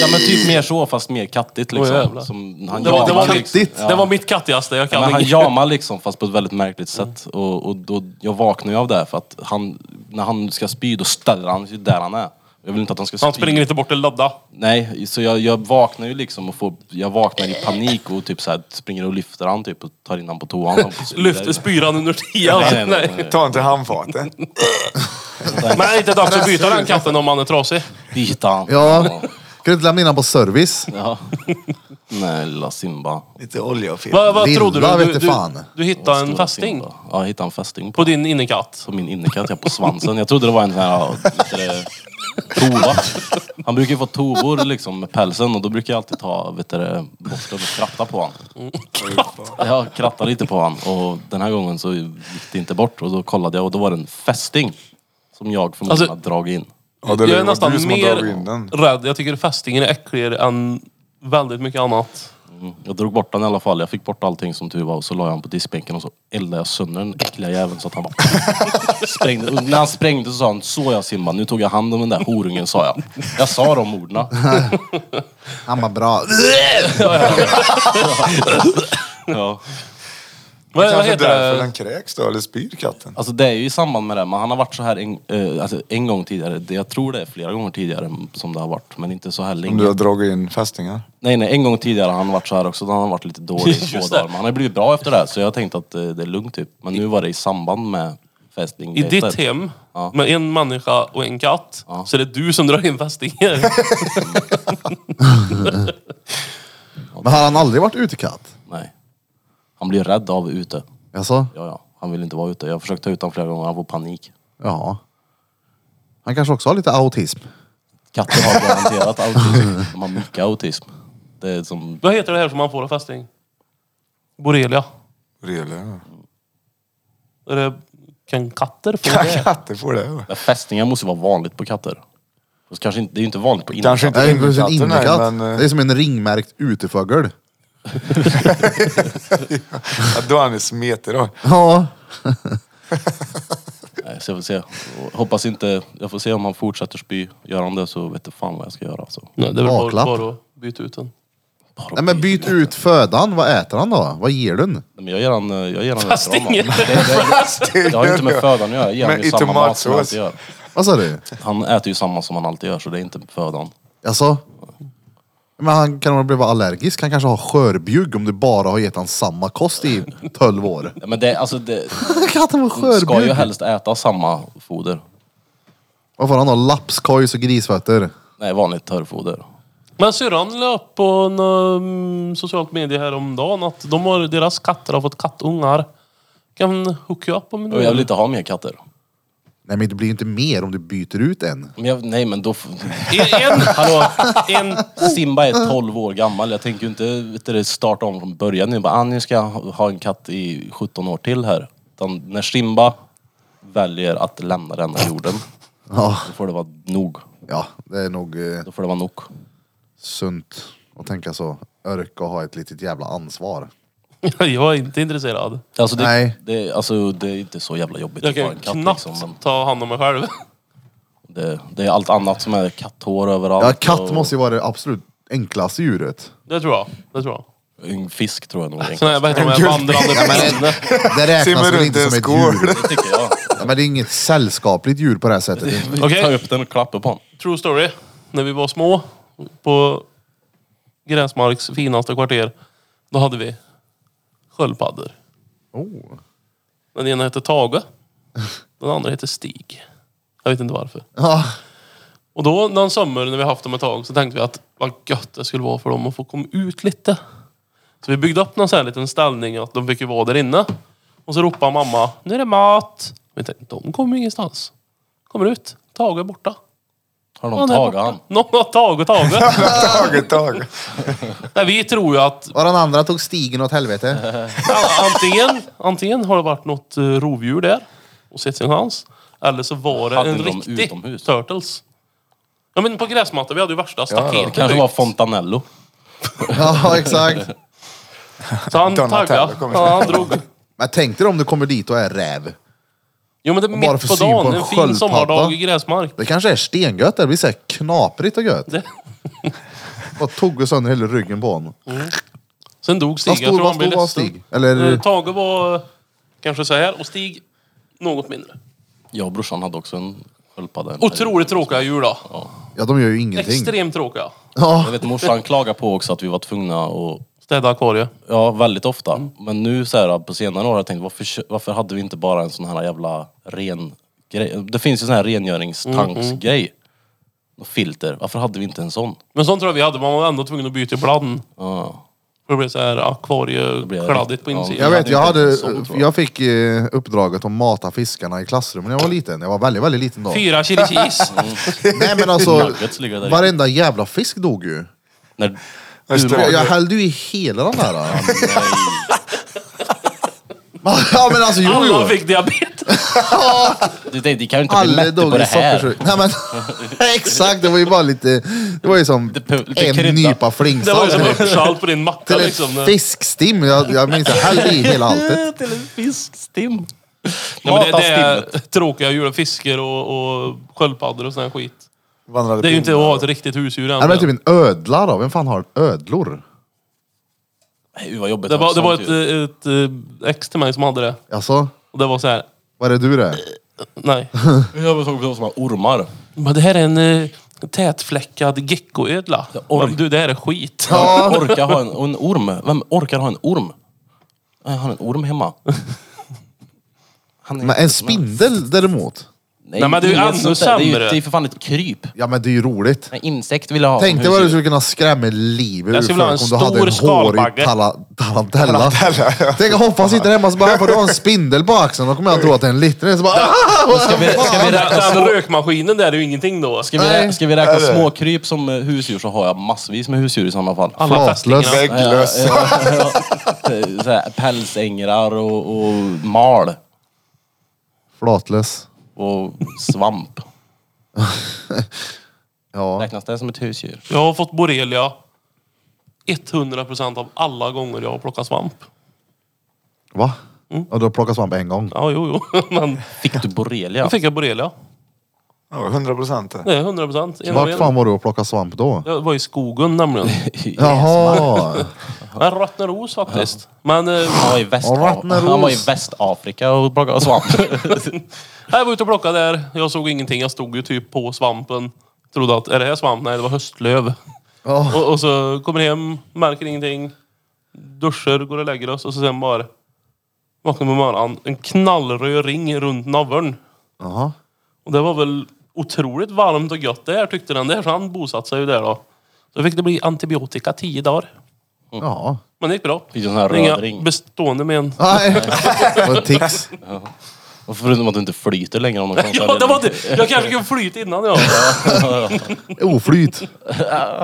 Speaker 2: ja, men typ mer så fast mer kattigt
Speaker 5: Åh,
Speaker 2: liksom.
Speaker 5: jävlar.
Speaker 2: Som, han
Speaker 5: det, var, det, var
Speaker 2: jamar liksom.
Speaker 5: mitt, det var mitt kattigaste. Jag kan
Speaker 2: Men han
Speaker 5: inget.
Speaker 2: jamar liksom fast på ett väldigt märkligt sätt. Och, och då, jag vaknar ju av det här, för att han, när han ska spy då ställer han sig där han är. Jag vill inte att han ska spy.
Speaker 5: Han springer inte bort och ladda.
Speaker 2: Nej, så jag, jag vaknar ju liksom och får, jag vaknar i panik och typ så här, springer och lyfter han typ och tar in han på toan. Han får spy
Speaker 5: Lyfter
Speaker 2: där.
Speaker 5: spyran under tian.
Speaker 2: Nej, nej, nej,
Speaker 5: Nej.
Speaker 2: nej.
Speaker 4: Ta inte handfatet.
Speaker 5: Men inte dags att byta den katten om han är trasig.
Speaker 2: Bita han.
Speaker 1: Ja. Kan du inte lämna in den på service?
Speaker 2: Ja. Nej, lilla Simba.
Speaker 4: Lite olja och film.
Speaker 5: Vad, vad
Speaker 1: Lilla
Speaker 5: trodde du? Du,
Speaker 1: vete
Speaker 5: du,
Speaker 1: fan.
Speaker 5: du hittade en
Speaker 2: Stora
Speaker 5: fästing
Speaker 2: Simba. Ja, jag hittade en fästing på,
Speaker 5: på din innekatt.
Speaker 2: på min innekatt, ja, på svansen. Jag trodde det var en sån här, ja, vad heter det, tova. Han brukar ju få tovor liksom med pälsen och då brukar jag alltid ta, vet du, det, borsten och kratta på han. Jag krattade lite på han och den här gången så gick det inte bort och då kollade jag och då var det en fästing. Som jag förmodligen
Speaker 5: Alltså-
Speaker 2: hade dragit in.
Speaker 4: Ja, det lär
Speaker 5: Jag är
Speaker 4: ju vara du
Speaker 5: nästan
Speaker 4: som har dragit in
Speaker 5: mer
Speaker 4: den.
Speaker 5: rädd. Jag tycker fästingen är äckligare än väldigt mycket annat.
Speaker 2: Jag drog bort den i alla fall. Jag fick bort allting som tur var och så la jag den på diskbänken och så eldade jag sönder den äckliga jäveln så att han bara sprängde. Och när han sprängde så sa han, så jag Simba, nu tog jag hand om den där horungen sa jag. Jag sa de orden.
Speaker 1: Han bara bra.
Speaker 2: Ja.
Speaker 5: Vad, vad
Speaker 4: Kanske
Speaker 5: heter
Speaker 4: därför
Speaker 5: det?
Speaker 4: den kräks då, eller spyr katten.
Speaker 2: Alltså det är ju i samband med det, men han har varit så här en, eh, alltså en gång tidigare. Det- Jag tror det är flera gånger tidigare som det har varit, men inte så här
Speaker 4: Om
Speaker 2: länge.
Speaker 4: du har dragit in fästingar.
Speaker 2: Nej, nej, en gång tidigare har han varit så här också. Då har han varit lite dålig i två
Speaker 5: Just det.
Speaker 2: dagar. Men han har blivit bra efter det, här, så jag tänkte att eh, det är lugnt typ. Men nu var det i samband med fästing.
Speaker 5: I ditt hem,
Speaker 2: Ja.
Speaker 5: med en människa och en katt,
Speaker 2: Ja.
Speaker 5: så är det du som drar in fästingar.
Speaker 1: Men har han aldrig varit utekatt?
Speaker 2: Nej. Han blir rädd av ute.
Speaker 1: Alltså,
Speaker 2: Ja, ja. Han vill inte vara ute. Jag har försökt ta ut honom flera gånger, han får panik.
Speaker 1: ja. Han kanske också har lite autism.
Speaker 2: Katter har garanterat autism. De har mycket autism. Det är som...
Speaker 5: vad heter det här som man får av fästing? Borrelia.
Speaker 4: Really?
Speaker 5: Är det, kan katter få det?
Speaker 4: Katter får det. va?
Speaker 2: Men Fästingar måste ju vara vanligt på katter. Fast Kanske inte, det är ju inte vanligt på
Speaker 4: Kanske
Speaker 2: innerkatter.
Speaker 4: inte
Speaker 1: Nej, inte en
Speaker 4: innekatten, nej,
Speaker 1: innekatt.
Speaker 4: men
Speaker 1: Det är
Speaker 4: eh,
Speaker 1: som en ringmärkt utefågel.
Speaker 4: ja, eh, då är han ju smetig då.
Speaker 1: Ja.
Speaker 2: Nej, så jag får se. Och Hoppas inte... Jag får se om han fortsätter spy. Gör han det så vet jag fan vad jag ska göra. Alltså.
Speaker 5: Nej, det är väl bara,
Speaker 1: Baklapp.
Speaker 5: bara att byta ut den.
Speaker 2: Bara
Speaker 1: Nej men byt ut födan. Vad äter han då? Vad ger du den?
Speaker 2: Nej, men jag ger han, eh, jag ger han rätt
Speaker 5: Fast
Speaker 2: bra mat.
Speaker 5: ingen-
Speaker 2: Det, det, det, det har ju inte med födan att göra. Jag ger han
Speaker 4: Men
Speaker 2: ju
Speaker 4: i
Speaker 2: samma mat som han alltid
Speaker 4: tomatsås.
Speaker 2: gör.
Speaker 1: Vad sa du?
Speaker 2: Han äter ju samma som han alltid gör, så det är inte födan.
Speaker 1: Alltså? Men han kan väl bli allergisk? Han kanske har skörbjugg om du bara har gett han samma kost i 12 år.
Speaker 2: Nej, Men det, alltså det
Speaker 1: Katten var
Speaker 2: ska ju
Speaker 1: skörbjugg!
Speaker 2: helst äta samma foder.
Speaker 1: Varför har han har lapskojs och grisfötter?
Speaker 2: Nej, vanligt törrfoder.
Speaker 5: Men syrran la upp på en, um, socialt medie häromdagen att de har, deras katter har fått kattungar. Kan hooka upp om
Speaker 2: Och jag vill
Speaker 5: du
Speaker 2: inte ha mer katter.
Speaker 1: Nej men det blir ju inte mer om du byter ut en.
Speaker 2: Men jag, nej men då... f-
Speaker 5: En,
Speaker 2: Hallå, Simba är 12 år gammal. Jag tänker ju inte vet du, starta om från början nu. Bara, ah, nu ska jag ha ha en katt i 17 år till här. Utan när Simba väljer att lämna denna jorden,
Speaker 1: Ja,
Speaker 2: då får det vara nog.
Speaker 1: ja det är nog eh,
Speaker 2: Då får det vara nog.
Speaker 1: sunt att tänka så. Örka och ha ett litet jävla ansvar.
Speaker 5: jag är inte intresserad.
Speaker 2: Alltså det,
Speaker 1: Nej.
Speaker 2: Det, alltså det är inte så jävla jobbigt
Speaker 5: Jag
Speaker 2: att ha
Speaker 5: kan
Speaker 2: en katt
Speaker 5: knappt
Speaker 2: liksom.
Speaker 5: ta hand om mig själv.
Speaker 2: Men Det, det är allt annat som är katthår överallt.
Speaker 1: Ja, katt
Speaker 2: och-
Speaker 1: måste ju vara det absolut enklaste djuret.
Speaker 5: Det tror jag. Det tror jag.
Speaker 2: En fisk tror jag nog
Speaker 5: Sån
Speaker 2: egentligen.
Speaker 5: här, vad heter de här, vandrande pinne.
Speaker 1: Det räknas
Speaker 4: Simmar
Speaker 1: väl
Speaker 4: runt i
Speaker 1: inte
Speaker 4: en
Speaker 1: som ett
Speaker 4: skål.
Speaker 1: djur?
Speaker 2: Det tycker jag.
Speaker 1: Ja, men det är inget sällskapligt djur på det här sättet.
Speaker 2: Vi
Speaker 5: Okej.
Speaker 2: tar upp den och klappar på den.
Speaker 5: True story. När vi var små på Gräsmarks finaste kvarter, då hade vi sköldpaddor.
Speaker 1: Oh.
Speaker 5: Den ena hette Tage. Den andra hette Stig. Jag vet inte varför.
Speaker 1: Ja,
Speaker 5: Och då någon sommar när vi haft dem ett tag så tänkte vi att vad gött det skulle vara för dem att få komma ut lite. Så vi byggde upp någon sån här liten ställning att de fick ju vara där inne. Och så ropade mamma, nu är det mat. Vi tänkte, de kommer ju ingenstans. Kommer ut, Tage är borta.
Speaker 2: Har någon tagit
Speaker 5: borta.
Speaker 2: han?
Speaker 5: Någon har tagit Tage.
Speaker 4: Taget, tag.
Speaker 5: Nej, vi tror ju att
Speaker 1: och den andra tog stigen åt helvete.
Speaker 5: antingen, antingen har det varit något eh, rovdjur där och sett sin chans. Eller så var det
Speaker 2: Hade
Speaker 5: en
Speaker 2: de
Speaker 5: riktig
Speaker 2: utomhus?
Speaker 5: turtles. Ja men på gräsmattan, vi hade ju värsta
Speaker 2: Det
Speaker 5: staketet
Speaker 2: kanske var
Speaker 5: ut.
Speaker 2: Fontanello.
Speaker 1: Ja, exakt.
Speaker 5: Så han
Speaker 4: Donatello
Speaker 5: taggade.
Speaker 4: kommer.
Speaker 5: Ja, han drog.
Speaker 1: Men tänk dig om du kommer dit och är räv.
Speaker 5: Jo men det är
Speaker 1: Och bara
Speaker 5: mitt
Speaker 1: för
Speaker 5: på
Speaker 1: syn på
Speaker 5: dagen,
Speaker 1: en
Speaker 5: en fin
Speaker 1: sköldpadda.
Speaker 5: sommardag i gräsmark.
Speaker 1: Det kanske är stengött där. Det blir så här knaprigt och gött.
Speaker 5: Det.
Speaker 1: Och tog sönder hela ryggen på honom.
Speaker 5: Sen dog Stig.
Speaker 1: Vad
Speaker 5: Jag
Speaker 1: stor
Speaker 5: tror
Speaker 1: vad
Speaker 5: han blev
Speaker 1: stor var
Speaker 5: ledsen.
Speaker 1: Stig? Eller
Speaker 5: Eh, Tage var eh, kanske så här och Stig något mindre.
Speaker 2: Jag och brorsan hade också en sköldpadda. en period.
Speaker 5: Otroligt tråkiga djur då.
Speaker 1: Ja, de gör ju ingenting.
Speaker 5: Extremt tråkiga.
Speaker 2: Jag
Speaker 1: Ja,
Speaker 2: vet morsan klagade på också att vi var tvungna att
Speaker 5: Städa akvariet.
Speaker 2: Ja, väldigt ofta.
Speaker 5: Mm.
Speaker 2: Men nu så här, på senare år har jag tänkt, varför, kö- varför hade vi inte bara en sån här jävla ren grej? Det finns ju sån här
Speaker 5: Mm,
Speaker 2: rengöringstanksgrej. Och Filter. Varför hade vi inte en sån?
Speaker 5: Men sånt tror jag vi hade. Man var ändå tvungen att byta ibland.
Speaker 2: Ja.
Speaker 5: För det blev så här
Speaker 2: blev
Speaker 5: akvariekladdigt på
Speaker 2: riktigt-
Speaker 1: jag
Speaker 5: insidan.
Speaker 1: vet. Jag,
Speaker 2: hade
Speaker 1: hade,
Speaker 2: ju tänkt så, tror jag.
Speaker 1: jag fick eh, uppdraget att mata fiskarna i klassrummet när jag var liten. Jag var väldigt, väldigt liten då.
Speaker 5: Fyra chili cheese.
Speaker 1: Mm. Nej men alltså,
Speaker 2: Nuggets ligger där
Speaker 1: varenda jävla fisk dog ju.
Speaker 2: När,
Speaker 4: Just
Speaker 1: Jag,
Speaker 4: det.
Speaker 1: jag hällde ju i hela den där. då.
Speaker 2: nej,
Speaker 1: Ja men alltså jo
Speaker 5: Alla
Speaker 1: jo.
Speaker 5: fick diabetes.
Speaker 2: det, det, det kan ju inte bli
Speaker 1: Alla
Speaker 2: mätt
Speaker 1: dog
Speaker 2: på
Speaker 1: i
Speaker 2: det här.
Speaker 1: sockersjuk. Nej men exakt, det var ju bara lite, det var ju som
Speaker 2: Lite pu- lite
Speaker 1: en nypa
Speaker 2: krydda.
Speaker 5: Det var
Speaker 1: flingsalt.
Speaker 5: ju som
Speaker 1: Till ett-
Speaker 5: uppsalt på din macka
Speaker 1: Till
Speaker 5: liksom.
Speaker 1: ett fiskstim, jag, jag minns jag hällde i hela alltet.
Speaker 2: Till en fiskstim.
Speaker 5: Ja, men det, det är
Speaker 2: stimmet.
Speaker 5: tråkiga djur. Fiskar och, och sköldpaddor och sån här skit.
Speaker 4: Vandrade
Speaker 5: Det är ju inte att
Speaker 4: pinnar.
Speaker 1: typ
Speaker 5: ha ett riktigt husdjur
Speaker 1: Ja, men
Speaker 5: än.
Speaker 1: typ en ödla då, vem fan har ödlor?
Speaker 2: Nej, vad jobbigt.
Speaker 5: Det
Speaker 2: att ha
Speaker 5: var, det var
Speaker 2: sånt
Speaker 5: ett,
Speaker 2: ljud.
Speaker 5: eh, ett, eh, ex till mig som hade det.
Speaker 1: Alltså,
Speaker 5: Och det var så här.
Speaker 1: vad är det du det?
Speaker 5: nej.
Speaker 2: Jag var såg som har ormar.
Speaker 5: Men det här är en eh, tätfläckad geckoödla.
Speaker 2: ork.
Speaker 5: Men Du, det här är skit.
Speaker 2: Orka ha en, och en orm. Vem orkar ha en orm? Jag har en orm hemma. Han är-
Speaker 1: Men en spindel däremot?
Speaker 5: Nej, men det är ju
Speaker 2: inget
Speaker 5: ännu
Speaker 2: sånt där. Det är ju
Speaker 5: sämre.
Speaker 2: det är ju för fan ett kryp.
Speaker 1: Ja men det är ju roligt.
Speaker 2: En insekt vill jag ha.
Speaker 1: Tänk
Speaker 2: som
Speaker 1: dig vad du
Speaker 2: husdjur.
Speaker 1: skulle kunna skrämma livet
Speaker 5: Jag
Speaker 1: ur
Speaker 5: skulle vilja ha en
Speaker 1: folk om du hade en
Speaker 5: stor
Speaker 1: hårig
Speaker 5: skalbagge.
Speaker 1: tala- tarantella. Tänk om hoppas sitter hemma och så bara, "Här får du har en spindel på axeln. Då kommer jag tro att det är en liten. Så bara, "Ah,
Speaker 2: Ska vi, ska vi
Speaker 5: Den,
Speaker 2: räkna
Speaker 1: alltså.
Speaker 5: den
Speaker 2: små,
Speaker 5: rökmaskinen där är ju ingenting då.
Speaker 2: ska vi, rä- ska vi räkna små kryp som eh, husdjur så har jag massvis med husdjur i samma fall.
Speaker 5: Alla
Speaker 1: Flatlös.
Speaker 5: fästingarna.
Speaker 4: Vägglöss.
Speaker 2: Eh, Så här, Pälsängrar och, och mal
Speaker 1: Flatlös.
Speaker 2: och svamp.
Speaker 1: Ja.
Speaker 2: Räknas det som ett husdjur?
Speaker 5: Jag har fått borrelia 100% av alla gånger jag har plockat svamp.
Speaker 1: Va?
Speaker 4: Mm.
Speaker 1: Ja, du har plockat svamp en gång.
Speaker 5: Ja, jo, jo. Men
Speaker 2: Fick du borrelia?
Speaker 5: då fick jag borrelia.
Speaker 4: Ja, 100 procent.
Speaker 5: Det är 100%. En av
Speaker 1: Vart
Speaker 5: en.
Speaker 1: fan var du och plockade svamp då?
Speaker 5: Jag var i skogen nämligen.
Speaker 1: Jaha!
Speaker 5: En Rottneros faktiskt. Men eh,
Speaker 2: Han var i, väst
Speaker 1: Och vattnaros.
Speaker 2: han var i Västafrika och plockade svamp.
Speaker 5: jag var ute och plockade där. Jag såg ingenting. Jag stod ju typ på svampen. Trodde att, är det här svamp? Nej, det var höstlöv.
Speaker 1: Ja.
Speaker 5: Och, och så kommer hem, märker ingenting. Duschar, går och lägger oss och så sen bara vaknar på morgonen. En knallröd ring runt naveln.
Speaker 1: Jaha.
Speaker 5: Och det var väl otroligt varmt och gött där tyckte den där. Så han bosatte sig ju där då. Så fick det bli antibiotika tio dagar.
Speaker 1: Ja.
Speaker 5: Men det gick bra.
Speaker 2: Fick du sån här
Speaker 5: Inga
Speaker 2: röd ring?
Speaker 5: bestående men.
Speaker 1: Nej. Det var tics.
Speaker 2: Och Förutom att du inte flyter längre om de kan
Speaker 5: Ja, det var det. Jag kanske kunde flyta innan jag.
Speaker 1: Oflyt.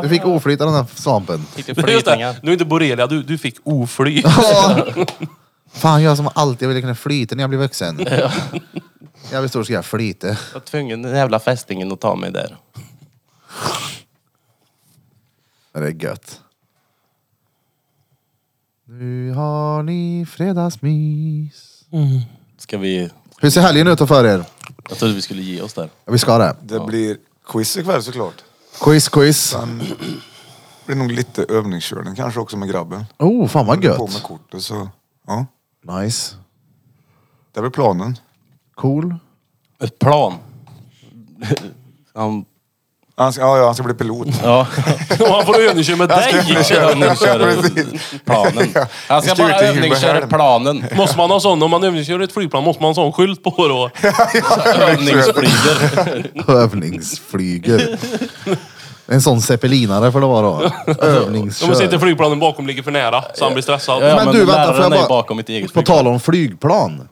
Speaker 1: Du fick oflyt av den här svampen.
Speaker 2: Fick du
Speaker 5: Just
Speaker 2: flytningar?
Speaker 5: det. Du är inte borrelia, du, du fick ofly.
Speaker 1: Ja. Fan, jag som alltid ville kunna flyta när jag blev vuxen. Jag blir stor så ska jag flyta.
Speaker 2: Jag var tvungen, den jävla fästingen, att ta mig där.
Speaker 1: Det är gött. Nu har ni fredagsmys.
Speaker 2: Ska vi...
Speaker 1: Hur ser helgen ut för er?
Speaker 2: Jag trodde vi skulle ge oss där.
Speaker 1: Ja, Vi ska det.
Speaker 4: Det blir quiz ikväll såklart.
Speaker 1: Quiz, quiz.
Speaker 4: Det blir nog lite övningskörning kanske också med grabben.
Speaker 1: Oh, fan vad
Speaker 4: På med
Speaker 1: gött.
Speaker 4: kortet så, ja.
Speaker 1: Nice.
Speaker 4: Det är väl planen.
Speaker 1: Cool.
Speaker 2: Ett plan. Han...
Speaker 4: Han ska, ja, ja, han ska bli pilot.
Speaker 2: Ja.
Speaker 5: Man får övningsköra med dig.
Speaker 2: Övningsköra planen. Han ska
Speaker 4: ska
Speaker 2: bara
Speaker 4: ut i
Speaker 2: övningsköra
Speaker 4: Himmelhärden.
Speaker 2: planen.
Speaker 5: Måste man ha sån, om man övningskör ett flygplan, måste man ha sån skylt på då?
Speaker 2: Övningsflyger.
Speaker 1: Övningsflyger. En sån zeppelinare får det vara då.
Speaker 5: Om sitter
Speaker 1: Övningskör.
Speaker 5: flygplanen bakom ligger för nära, så han blir stressad.
Speaker 2: Ja,
Speaker 1: Men
Speaker 2: men
Speaker 1: du, vänta, får
Speaker 2: läraren
Speaker 1: jag bara-
Speaker 2: är bakom mitt eget
Speaker 1: På tal om flygplan.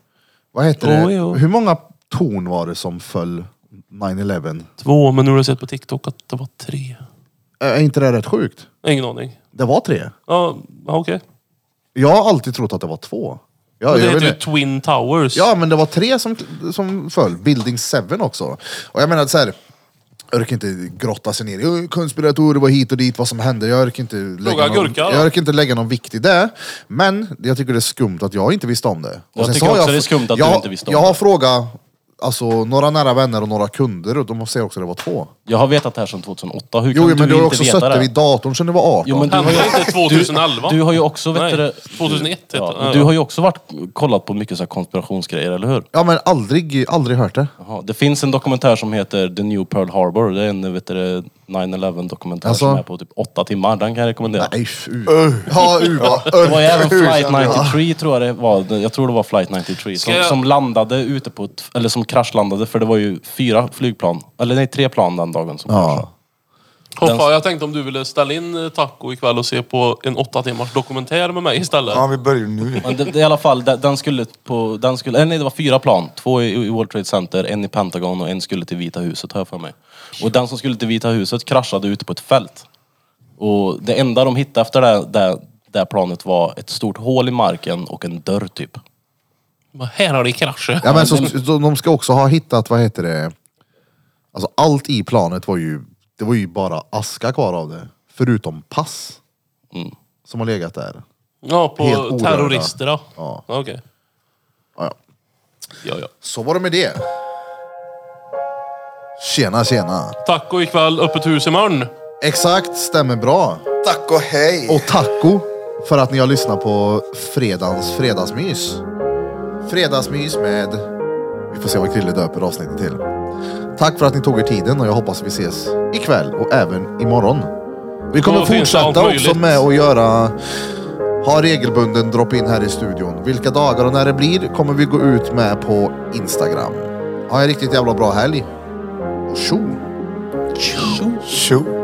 Speaker 1: Vad heter det?
Speaker 5: Oj, oj.
Speaker 1: Hur många torn var det som föll 9-11?
Speaker 5: Två, men nu har jag sett på TikTok att det var tre.
Speaker 1: Är inte det rätt sjukt?
Speaker 5: Ingen aning.
Speaker 1: Det var tre.
Speaker 5: Ja, ja, okej.
Speaker 1: Jag har alltid trott att det var två. Ja,
Speaker 5: Men det
Speaker 1: jag
Speaker 2: typ
Speaker 5: heter
Speaker 1: vet
Speaker 5: ju
Speaker 1: inte.
Speaker 5: Twin Towers.
Speaker 1: ja men det var tre som, som föll. Building 7 också. Och jag menar så här. Jag orkar inte grotta sig ner i "Ö, konspiratorer, vad hit och dit, vad som hände. Jag orkar inte lägga,
Speaker 5: Fråga
Speaker 1: någon,
Speaker 5: Gurka, då.
Speaker 1: jag orkar inte lägga någon vikt i det. Men jag tycker det är skumt att jag inte visste om det. Och
Speaker 2: Jag
Speaker 1: sen så
Speaker 2: tycker
Speaker 1: har
Speaker 2: också det är skumt att du
Speaker 1: jag,
Speaker 2: inte visste om
Speaker 1: Jag
Speaker 2: det.
Speaker 1: har frågat alltså, några nära vänner och några kunder och de säger också att det var två.
Speaker 2: Jag har vetat det här sedan 2008. Hur
Speaker 1: Jo,
Speaker 2: kan
Speaker 1: jo men
Speaker 2: du
Speaker 1: du har
Speaker 2: inte
Speaker 1: också
Speaker 2: veta
Speaker 1: suttit
Speaker 2: det?
Speaker 1: vid datorn sedan du var 18.
Speaker 2: Jo, men du har
Speaker 5: Hände
Speaker 2: ju,
Speaker 5: det inte 2011?
Speaker 2: du har ju också vet
Speaker 5: Nej,
Speaker 2: du det-
Speaker 5: 2001 heter
Speaker 2: ja,
Speaker 5: det.
Speaker 2: men Du har ju också varit, kollat på mycket så här konspirationsgrejer, eller hur?
Speaker 1: Ja men aldrig, aldrig hört det.
Speaker 2: Jaha, det finns en dokumentär som heter The New Pearl Harbor. Det är en vet du, det, 9-11 dokumentär
Speaker 1: Alltså?
Speaker 2: som är på typ åtta timmar. Den kan jag rekommendera.
Speaker 1: Nej, fy. Ja, uva.
Speaker 2: Det var ju även Flight 93 tror jag det var. Jag tror det var Flight 93 som,
Speaker 5: Ska jag-
Speaker 2: som landade ute på ett, eller som kraschlandade för det var ju fyra flygplan. Eller nej, tre plan den dagen som kraschade.
Speaker 1: Ja.
Speaker 5: Hoppa, jag tänkte om du ville ställa in eh, taco ikväll och se på en åtta timmars dokumentär med mig istället.
Speaker 4: Ja, vi börjar nu.
Speaker 2: Men det, det, i alla fall, den, den skulle på... Den skulle, eh, nej, det var fyra plan. Två i, i World Trade Center, en i Pentagon och en skulle till Vita huset, har jag för mig. Och den som skulle till Vita huset kraschade ute på ett fält. Och det enda de hittade efter det, det, det planet var ett stort hål i marken och en dörr, typ.
Speaker 5: Men Här har det kraschat.
Speaker 1: Ja, men så, så, de ska också ha hittat, vad heter det? Alltså allt i planet var ju, det var ju bara aska kvar av det. Förutom pass. Mm. Som har legat där.
Speaker 5: Ja, på
Speaker 1: Helt orörda.
Speaker 5: terrorister då.
Speaker 1: Ja.
Speaker 5: Okej.
Speaker 1: Ja, ja.
Speaker 5: Ja, ja.
Speaker 1: Så var det med det. Tjena, tjena.
Speaker 5: Taco ikväll, öppet hus imorgon.
Speaker 1: Exakt, stämmer bra.
Speaker 4: Tack och hej!
Speaker 1: Och taco. för att ni har lyssnat på fredagens fredagsmys. Fredagsmys med... Vi får se vad Krille döper avsnittet till. Tack för att ni tog er tiden och jag hoppas vi ses ikväll och även imorgon. Vi kommer
Speaker 5: Då finns det allt
Speaker 1: fortsätta också
Speaker 5: möjligt.
Speaker 1: med att göra... Ha regelbunden drop-in här i studion. Vilka dagar och när det blir kommer vi gå ut med på Instagram. Ha en riktigt jävla bra helg. Och tjo!
Speaker 4: Tjo!